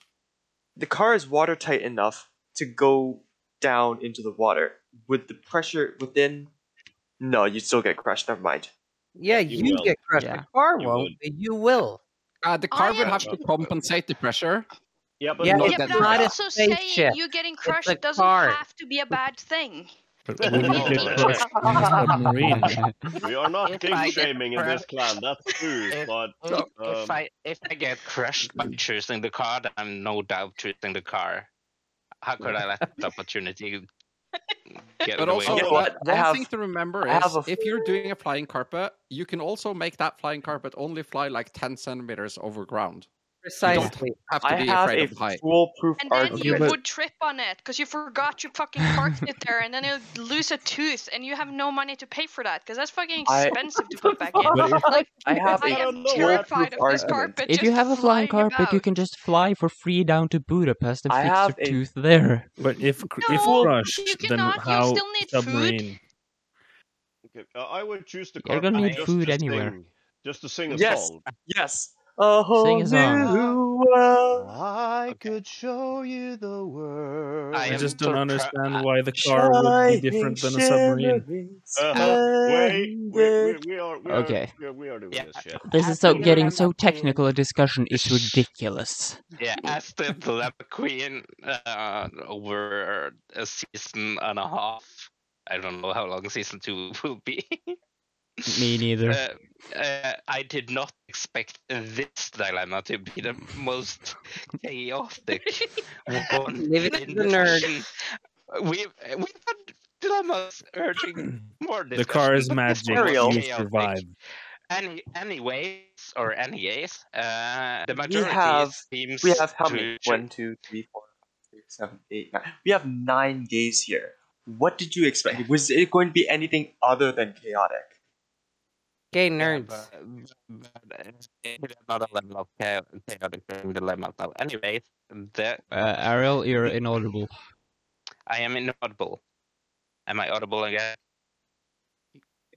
[SPEAKER 4] the car is watertight enough to go down into the water with the pressure within. No, you still get crushed. Never mind.
[SPEAKER 11] Yeah,
[SPEAKER 4] You
[SPEAKER 11] you,
[SPEAKER 4] will.
[SPEAKER 11] get crushed.
[SPEAKER 4] Yeah.
[SPEAKER 11] The car
[SPEAKER 4] You
[SPEAKER 11] won't, but you will.
[SPEAKER 7] Uh, the car
[SPEAKER 10] I
[SPEAKER 7] will
[SPEAKER 10] am-
[SPEAKER 7] have to compensate the pressure.
[SPEAKER 6] Yeah,
[SPEAKER 10] Oh, yeah,
[SPEAKER 7] not
[SPEAKER 10] but
[SPEAKER 7] that
[SPEAKER 10] I'm
[SPEAKER 7] much.
[SPEAKER 10] also saying you getting crushed doesn't
[SPEAKER 7] car.
[SPEAKER 10] have to be a bad thing.
[SPEAKER 5] But when you get crushed in a submarine,
[SPEAKER 6] We are not
[SPEAKER 2] I
[SPEAKER 6] king
[SPEAKER 2] get
[SPEAKER 6] shaming in this
[SPEAKER 2] crushed-
[SPEAKER 6] clan, that's true, but.
[SPEAKER 2] If, if
[SPEAKER 6] um,
[SPEAKER 2] I if I get crushed by choosing the car, then I'm no doubt choosing the car. How could I let that opportunity get
[SPEAKER 7] But
[SPEAKER 2] away?
[SPEAKER 7] also,
[SPEAKER 2] with
[SPEAKER 7] uh,
[SPEAKER 2] it?
[SPEAKER 7] one thing to remember
[SPEAKER 2] I
[SPEAKER 7] is
[SPEAKER 2] have a-
[SPEAKER 7] if you're doing a flying carpet, you can also make that flying carpet only fly like 10 centimeters over ground. You
[SPEAKER 11] Precisely.
[SPEAKER 7] don't have to
[SPEAKER 4] I
[SPEAKER 7] be
[SPEAKER 4] have
[SPEAKER 7] afraid
[SPEAKER 4] a
[SPEAKER 7] of height.
[SPEAKER 4] foolproof
[SPEAKER 10] And then you
[SPEAKER 7] but-
[SPEAKER 10] would trip on it because you forgot you fucking parked it there, and then you'll lose a tooth, and you have no money to pay for that because that's fucking
[SPEAKER 4] I-
[SPEAKER 10] expensive to put back in.
[SPEAKER 4] But if-
[SPEAKER 10] Like,
[SPEAKER 4] I have a
[SPEAKER 10] am
[SPEAKER 4] foolproof
[SPEAKER 10] terrified of this
[SPEAKER 4] argument.
[SPEAKER 10] carpet.
[SPEAKER 3] If
[SPEAKER 10] just
[SPEAKER 3] you have a flying
[SPEAKER 10] flying
[SPEAKER 3] carpet, you
[SPEAKER 10] about.
[SPEAKER 3] can just fly for free down to Budapest and
[SPEAKER 4] I
[SPEAKER 3] fix
[SPEAKER 4] have
[SPEAKER 3] your tooth there.
[SPEAKER 5] But if cr-
[SPEAKER 6] No,
[SPEAKER 3] Oh,
[SPEAKER 5] if crushed, then
[SPEAKER 6] cannot, you'll
[SPEAKER 5] how
[SPEAKER 6] still need food.
[SPEAKER 5] submarine?
[SPEAKER 6] Okay, uh, I would choose the
[SPEAKER 3] You're
[SPEAKER 6] carpet
[SPEAKER 3] gonna need
[SPEAKER 6] just
[SPEAKER 3] food
[SPEAKER 6] to
[SPEAKER 3] anywhere. Oh,
[SPEAKER 6] Sing, just to sing a
[SPEAKER 4] Yes.
[SPEAKER 6] song.
[SPEAKER 4] Yes. A whole
[SPEAKER 3] Sing a song.
[SPEAKER 4] new world.
[SPEAKER 12] I could show you the world.
[SPEAKER 5] I just don't understand
[SPEAKER 2] I-
[SPEAKER 5] why the car would be different than a submarine.
[SPEAKER 4] Uh-huh.
[SPEAKER 6] Uh, wait, we, we, we are, we are,
[SPEAKER 3] Okay.
[SPEAKER 6] we are, we are doing this shit.
[SPEAKER 3] This is so getting so technical a discussion is ridiculous.
[SPEAKER 2] Yeah, as the Dilemma Queen uh, over a season and a half. I don't know how long season two will be.
[SPEAKER 3] Me neither.
[SPEAKER 2] Uh, uh, I did not expect this dilemma to be the most chaotic one.
[SPEAKER 11] Leave it to
[SPEAKER 2] in
[SPEAKER 11] the
[SPEAKER 2] this
[SPEAKER 11] nerd.
[SPEAKER 2] season. We we've had dilemmas urging more
[SPEAKER 5] The car is
[SPEAKER 2] discussion, but this
[SPEAKER 5] magic.
[SPEAKER 2] one was
[SPEAKER 5] You
[SPEAKER 2] chaotic.
[SPEAKER 5] survive.
[SPEAKER 2] Any anyways or anyways, uh, the
[SPEAKER 4] We
[SPEAKER 2] majority
[SPEAKER 4] have
[SPEAKER 2] seems
[SPEAKER 4] we have how
[SPEAKER 2] to
[SPEAKER 4] many?
[SPEAKER 2] choo-
[SPEAKER 4] One, two, three, four, five, six, seven, eight, nine. We have nine gays here. What did you expect? Was it going to be anything other than chaotic?
[SPEAKER 11] Gay
[SPEAKER 2] Yeah,
[SPEAKER 11] nerds.
[SPEAKER 2] but- but it's- it's not a level of chao- chaotic during the dilemma. So anyways, the,
[SPEAKER 3] Uh, Ariel, you're inaudible.
[SPEAKER 2] I am inaudible. Am I audible again?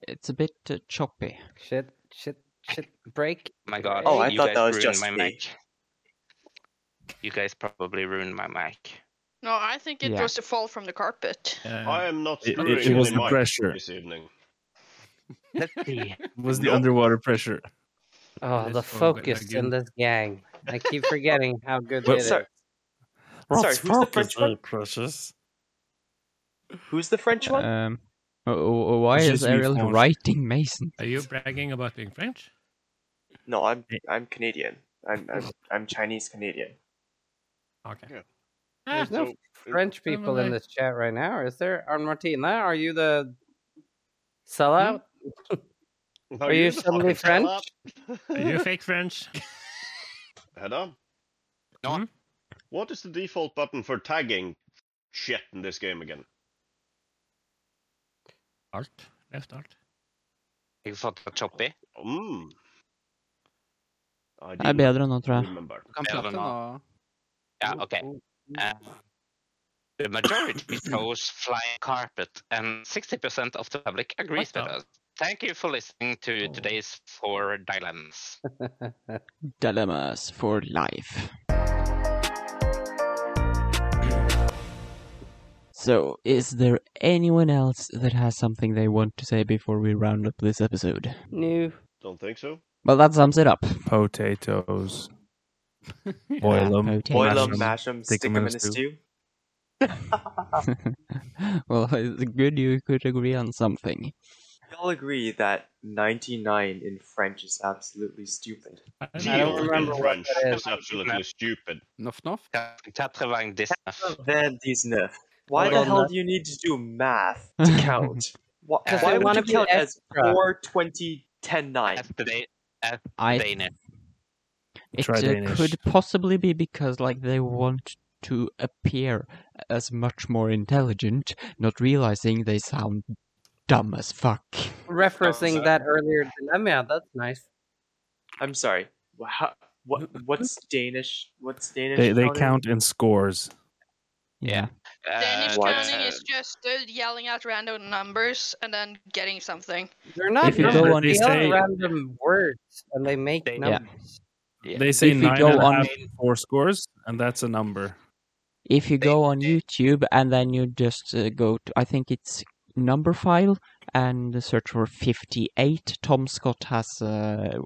[SPEAKER 3] It's a bit uh, choppy.
[SPEAKER 11] Shit, shit, shit. Break.
[SPEAKER 2] My God!
[SPEAKER 4] Oh, I
[SPEAKER 2] you
[SPEAKER 4] thought
[SPEAKER 2] guys
[SPEAKER 4] that was
[SPEAKER 2] ruined
[SPEAKER 4] just
[SPEAKER 2] my
[SPEAKER 4] me.
[SPEAKER 2] mic. You guys probably ruined my mic.
[SPEAKER 10] No, I think it
[SPEAKER 5] Yeah.
[SPEAKER 10] was the fall from the carpet.
[SPEAKER 6] I am not
[SPEAKER 5] It- it-
[SPEAKER 6] screwing
[SPEAKER 5] it was
[SPEAKER 6] any
[SPEAKER 5] the
[SPEAKER 6] mic
[SPEAKER 5] pressure.
[SPEAKER 6] this evening.
[SPEAKER 2] Let's see.
[SPEAKER 5] Was the underwater pressure?
[SPEAKER 11] Oh, the focus in this gang. I keep forgetting how good
[SPEAKER 5] Well,
[SPEAKER 11] it is.
[SPEAKER 5] sorry.
[SPEAKER 4] Sorry, who's the French one?
[SPEAKER 5] Precious.
[SPEAKER 4] Who's the French one?
[SPEAKER 3] Um, w- w- why
[SPEAKER 5] Je
[SPEAKER 3] is
[SPEAKER 5] suis
[SPEAKER 3] Ariel
[SPEAKER 5] French.
[SPEAKER 3] writing Mason?
[SPEAKER 1] Are you bragging about being French?
[SPEAKER 4] No, I'm I'm Canadian. I'm I'm, I'm Chinese Canadian.
[SPEAKER 1] Okay.
[SPEAKER 11] There's no French people in this chat right now, is there? Arn Martina, are you the sellout?
[SPEAKER 5] Hmm?
[SPEAKER 11] Are you suddenly French?
[SPEAKER 1] Are you fake French?
[SPEAKER 6] Hedda?
[SPEAKER 3] Hmm?
[SPEAKER 2] No.
[SPEAKER 6] What is the default button for tagging shit in this game again?
[SPEAKER 1] Alt. Left alt.
[SPEAKER 2] You thought it was choppy?
[SPEAKER 6] Mm. I
[SPEAKER 3] Det er bedre nå, tror jeg.
[SPEAKER 6] remember.
[SPEAKER 7] Kan
[SPEAKER 2] Bedre
[SPEAKER 7] prate
[SPEAKER 2] nå.
[SPEAKER 7] nå.
[SPEAKER 2] Yeah, okay. Uh, the majority chose flying carpet, and 60% of the public agrees with us. Thank you for listening to today's four dilemmas.
[SPEAKER 3] Dilemmas for life. So, is there anyone else that has something they want to say before we round up this episode?
[SPEAKER 11] New.
[SPEAKER 6] Don't think so.
[SPEAKER 3] Well, that sums it up.
[SPEAKER 5] Potatoes. Boil them.
[SPEAKER 3] potatoes.
[SPEAKER 4] Boil 'em, mash 'em, stick 'em in a stew.
[SPEAKER 3] well, it's good you could agree on something.
[SPEAKER 4] We all agree that 99 in French is absolutely stupid.
[SPEAKER 6] I don't remember what French that is. is absolutely stupid.
[SPEAKER 7] Nuff nuff?
[SPEAKER 2] 99.
[SPEAKER 4] Then these nerf. Why the
[SPEAKER 6] Well,
[SPEAKER 4] hell
[SPEAKER 6] that-
[SPEAKER 4] do you need to do math to count? Why,
[SPEAKER 2] Because
[SPEAKER 4] why
[SPEAKER 2] I
[SPEAKER 4] would
[SPEAKER 2] wanna
[SPEAKER 4] you
[SPEAKER 2] be
[SPEAKER 4] count as
[SPEAKER 2] extra.
[SPEAKER 4] 4, 20, 10, 9?
[SPEAKER 2] Today, at
[SPEAKER 3] I-
[SPEAKER 2] Danish.
[SPEAKER 3] It
[SPEAKER 5] Try
[SPEAKER 3] uh,
[SPEAKER 5] Danish.
[SPEAKER 3] could possibly be because, like, they want to appear as much more intelligent, not realizing they sound dumb as fuck.
[SPEAKER 11] Referencing that earlier dilemma. That's nice.
[SPEAKER 4] I'm sorry. Wow. What, what's Danish? What's Danish?
[SPEAKER 5] They they
[SPEAKER 4] counting?
[SPEAKER 5] count in scores.
[SPEAKER 3] Yeah.
[SPEAKER 10] Danish
[SPEAKER 5] what?
[SPEAKER 10] counting is just uh, yelling out random numbers and then getting something.
[SPEAKER 11] They're not
[SPEAKER 5] If you go
[SPEAKER 11] numbers, they
[SPEAKER 5] on- They
[SPEAKER 11] are
[SPEAKER 5] say-
[SPEAKER 11] random words and they make numbers.
[SPEAKER 5] They say
[SPEAKER 3] If you
[SPEAKER 5] nine
[SPEAKER 3] go
[SPEAKER 5] and a
[SPEAKER 3] on-
[SPEAKER 5] half in four scores, and that's a number.
[SPEAKER 3] If you go on YouTube and then you just uh, go to, I think it's number file and search for 58. Tom Scott has uh,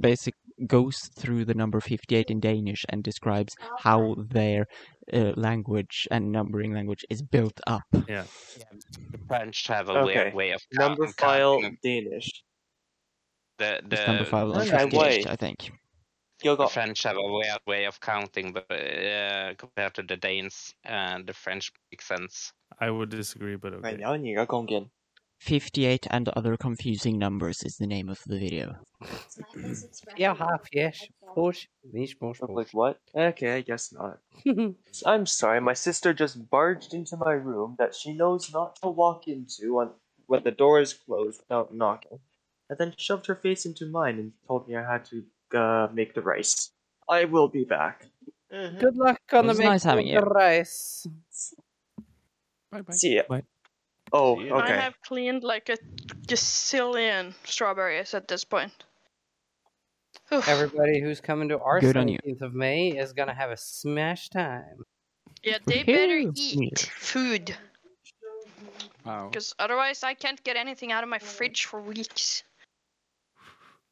[SPEAKER 3] basic goes through the number 58 in Danish and describes how their uh, language and numbering language is built up.
[SPEAKER 5] Yeah.
[SPEAKER 2] The French have a
[SPEAKER 4] Okay.
[SPEAKER 2] weird way of
[SPEAKER 4] Number
[SPEAKER 2] count-
[SPEAKER 4] file
[SPEAKER 2] counting
[SPEAKER 4] Danish.
[SPEAKER 2] the the,
[SPEAKER 3] It's number file and
[SPEAKER 4] By
[SPEAKER 3] 58,
[SPEAKER 4] way,
[SPEAKER 3] I think.
[SPEAKER 2] the French have a weird way of counting, but uh, compared to the Danes, uh, the French make sense.
[SPEAKER 5] I would disagree, but okay.
[SPEAKER 3] 58 and other confusing numbers is the name of the video.
[SPEAKER 11] Yeah, half, yes. Push, niche, push, push.
[SPEAKER 4] Like what? Okay, I guess not. I'm sorry, my sister just barged into my room that she knows not to walk into on, when the door is closed without knocking, and then shoved her face into mine and told me I had to uh, make the rice. I will be back.
[SPEAKER 10] Mm-hmm.
[SPEAKER 11] Good luck on
[SPEAKER 3] It
[SPEAKER 11] the
[SPEAKER 3] was nice having
[SPEAKER 11] making of
[SPEAKER 3] you.
[SPEAKER 11] the rice.
[SPEAKER 7] Bye-bye.
[SPEAKER 4] See ya.
[SPEAKER 5] Bye.
[SPEAKER 4] Oh,
[SPEAKER 6] See ya.
[SPEAKER 10] I
[SPEAKER 4] okay.
[SPEAKER 10] have cleaned like a gazillion strawberries at this point. Oof.
[SPEAKER 11] Everybody who's coming to our
[SPEAKER 3] Good on you.
[SPEAKER 11] 17th of May is going to have a smash time.
[SPEAKER 10] Yeah, they better
[SPEAKER 3] Woohoo.
[SPEAKER 10] eat food,
[SPEAKER 7] Wow.
[SPEAKER 10] because otherwise I can't get anything out of my fridge for weeks.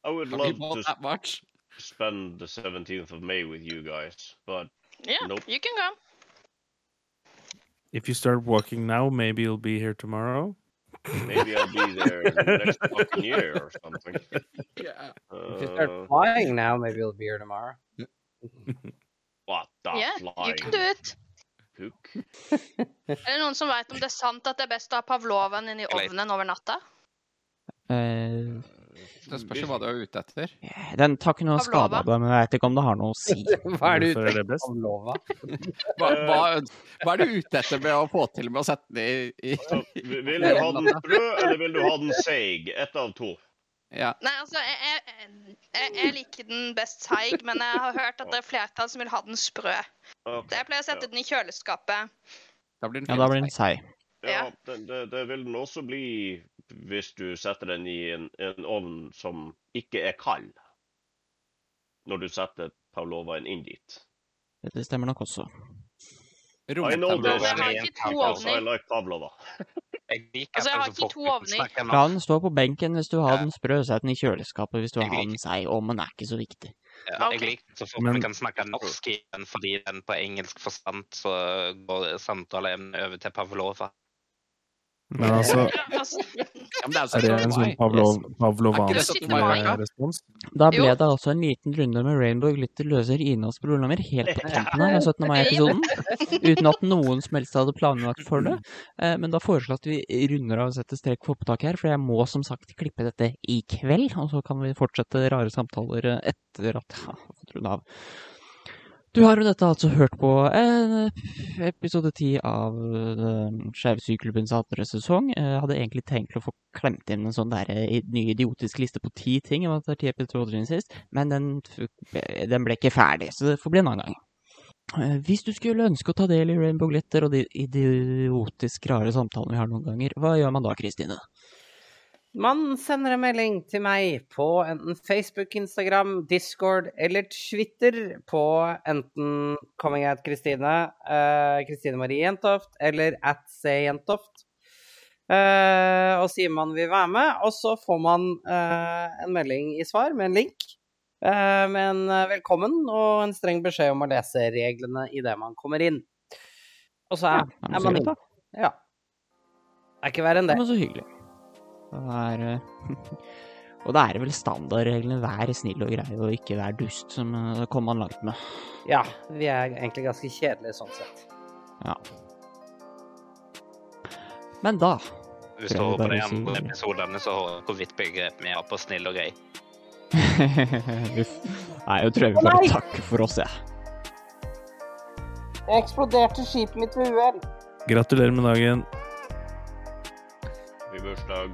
[SPEAKER 6] I would
[SPEAKER 7] Have you
[SPEAKER 6] love
[SPEAKER 7] bought
[SPEAKER 6] to
[SPEAKER 7] that much?
[SPEAKER 6] spend the 17th of May with you guys, but
[SPEAKER 10] Yeah,
[SPEAKER 6] Nope.
[SPEAKER 10] you can go.
[SPEAKER 5] If you start walking now, maybe you'll be here tomorrow.
[SPEAKER 6] maybe I'll be there next fucking year or something.
[SPEAKER 7] Yeah.
[SPEAKER 11] If you start
[SPEAKER 6] Uh,
[SPEAKER 11] flying now, maybe it'll be here tomorrow.
[SPEAKER 6] what the
[SPEAKER 10] Yeah, you
[SPEAKER 6] flying
[SPEAKER 10] can do it.
[SPEAKER 6] cook?
[SPEAKER 10] Er det noen som vet om det er sant at det er best å ha pavlovaen inn i ovnen over natta?
[SPEAKER 3] Eh,
[SPEAKER 7] Det spørs jo hva du er ute etter.
[SPEAKER 3] den tar ikke noe skade
[SPEAKER 10] Pavlova?
[SPEAKER 3] av det, men jeg vet ikke om det har noe å si.
[SPEAKER 11] Hva er du
[SPEAKER 5] Hvorfor er det best?
[SPEAKER 11] om lova?
[SPEAKER 7] Hva, hva, hva er du ute etter med å få til med å sette den i, i
[SPEAKER 6] Så, vi- Altså, vil du ha den rød, eller vil du ha den seig? Ett av to.
[SPEAKER 7] Ja.
[SPEAKER 10] Nei, altså, jeg, jeg, jeg, jeg liker den best seig, men jeg har hørt at det er flertall som vil ha den sprø.
[SPEAKER 6] Ok,
[SPEAKER 10] Så jeg pleier å sette den i kjøleskapet.
[SPEAKER 7] Da blir den
[SPEAKER 3] Ja, da blir den seig.
[SPEAKER 6] Ja, det, det, det vil den også bli hvis du setter den i en, en ovn som ikke er kald. Når du setter pavlovaen inn dit.
[SPEAKER 3] Dette stemmer nok også.
[SPEAKER 6] I know
[SPEAKER 10] Men
[SPEAKER 6] this.
[SPEAKER 10] jeg har
[SPEAKER 6] man,
[SPEAKER 10] ikke to
[SPEAKER 6] because altså, I
[SPEAKER 10] ovner.
[SPEAKER 6] like pavlova.
[SPEAKER 2] Jeg liker
[SPEAKER 10] Altså, jeg
[SPEAKER 2] at
[SPEAKER 10] har
[SPEAKER 2] det er
[SPEAKER 10] ikke
[SPEAKER 2] så folk
[SPEAKER 10] to
[SPEAKER 2] som
[SPEAKER 10] ovner.
[SPEAKER 2] snakker om-
[SPEAKER 3] La den stå på benken hvis du har
[SPEAKER 2] Ja.
[SPEAKER 3] den sprø, sett den i kjøleskapet hvis du
[SPEAKER 2] Jeg
[SPEAKER 3] har
[SPEAKER 2] liker-
[SPEAKER 3] den seig, og men den er ikke så viktig.
[SPEAKER 2] Ja,
[SPEAKER 10] Ok.
[SPEAKER 2] Jeg liker så folk
[SPEAKER 5] Men-
[SPEAKER 2] som kan snakke norsk i den, fordi den på engelsk forstand så går samtaleemnet over til Pavlova.
[SPEAKER 5] Men altså,
[SPEAKER 10] Ja, altså,
[SPEAKER 7] Ja, men det er jo
[SPEAKER 5] er det en sånn Pavlov,
[SPEAKER 7] Er
[SPEAKER 5] pavlovansk
[SPEAKER 7] ikke det sånn
[SPEAKER 5] eh,
[SPEAKER 7] Maya?
[SPEAKER 5] respons?
[SPEAKER 3] Da ble
[SPEAKER 10] Jo.
[SPEAKER 3] det altså en liten runde med Rainbow Glitter løser Inas problemer helt på tampen her av 17. mai-episoden. Uten at noen som helst hadde planlagt for det. Eh, Men da foreslår jeg at vi runder av og setter strek for opptak her, for jeg må som sagt klippe dette i kveld. Og så kan vi fortsette rare samtaler eh, etter at jeg har fått runde av. Du har jo dette altså hørt på eh, episode 10 av eh, Skeive syklubbens andre sesong. Eh, Jeg hadde egentlig tenkt å få klemt inn en sånn der eh, ny idiotisk liste på ti ting, om at det er ti episoder siden sist, men den, f- den ble ikke ferdig, så det får bli en annen gang. Eh, Hvis du skulle ønske å ta del i Rainbow Glitter og de idiotisk rare samtalene vi har noen ganger, hva gjør man da, Kristine?
[SPEAKER 11] Man sender en melding til meg på enten Facebook, Instagram, Discord eller Twitter på enten Coming Out Kristine, eh, Kristine Marie Jentoft eller at C Jentoft. Eh, og sier man vil være med, og så får man eh, en melding i svar med en link. eh, med en eh, velkommen og en streng beskjed om å lese reglene idet man kommer inn. Og så er,
[SPEAKER 3] Ja, men
[SPEAKER 11] er
[SPEAKER 3] så
[SPEAKER 11] man
[SPEAKER 3] greit,
[SPEAKER 11] inn.
[SPEAKER 3] da.
[SPEAKER 11] Ja. Det er ikke verre enn det.
[SPEAKER 3] Men så hyggelig. Det er, eh, og da er det vel standardreglene 'vær snill og grei og ikke vær dust' som eh, det kommer man langt med.
[SPEAKER 11] Ja, vi er egentlig ganske kjedelige sånn sett.
[SPEAKER 3] Ja. Men da
[SPEAKER 2] Vi
[SPEAKER 3] tror
[SPEAKER 2] står på de
[SPEAKER 3] jeg bare sier-
[SPEAKER 2] andre episodene så har hvorvidt begrep vi har på snill og grei.
[SPEAKER 3] Uff. Nei, jeg tror jeg vi
[SPEAKER 11] Nei!
[SPEAKER 3] bare takker for oss, jeg.
[SPEAKER 11] Jeg eksploderte skipet mitt ved uhell.
[SPEAKER 5] Gratulerer med dagen.
[SPEAKER 6] Happy bursdag.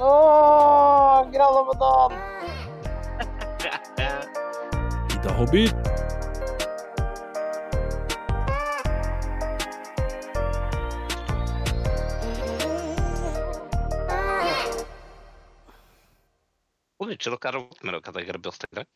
[SPEAKER 11] Å, gralla på dagen!
[SPEAKER 5] Ida Hobby.
[SPEAKER 2] Om ikke dere hadde vært med dere til bursdag i dag.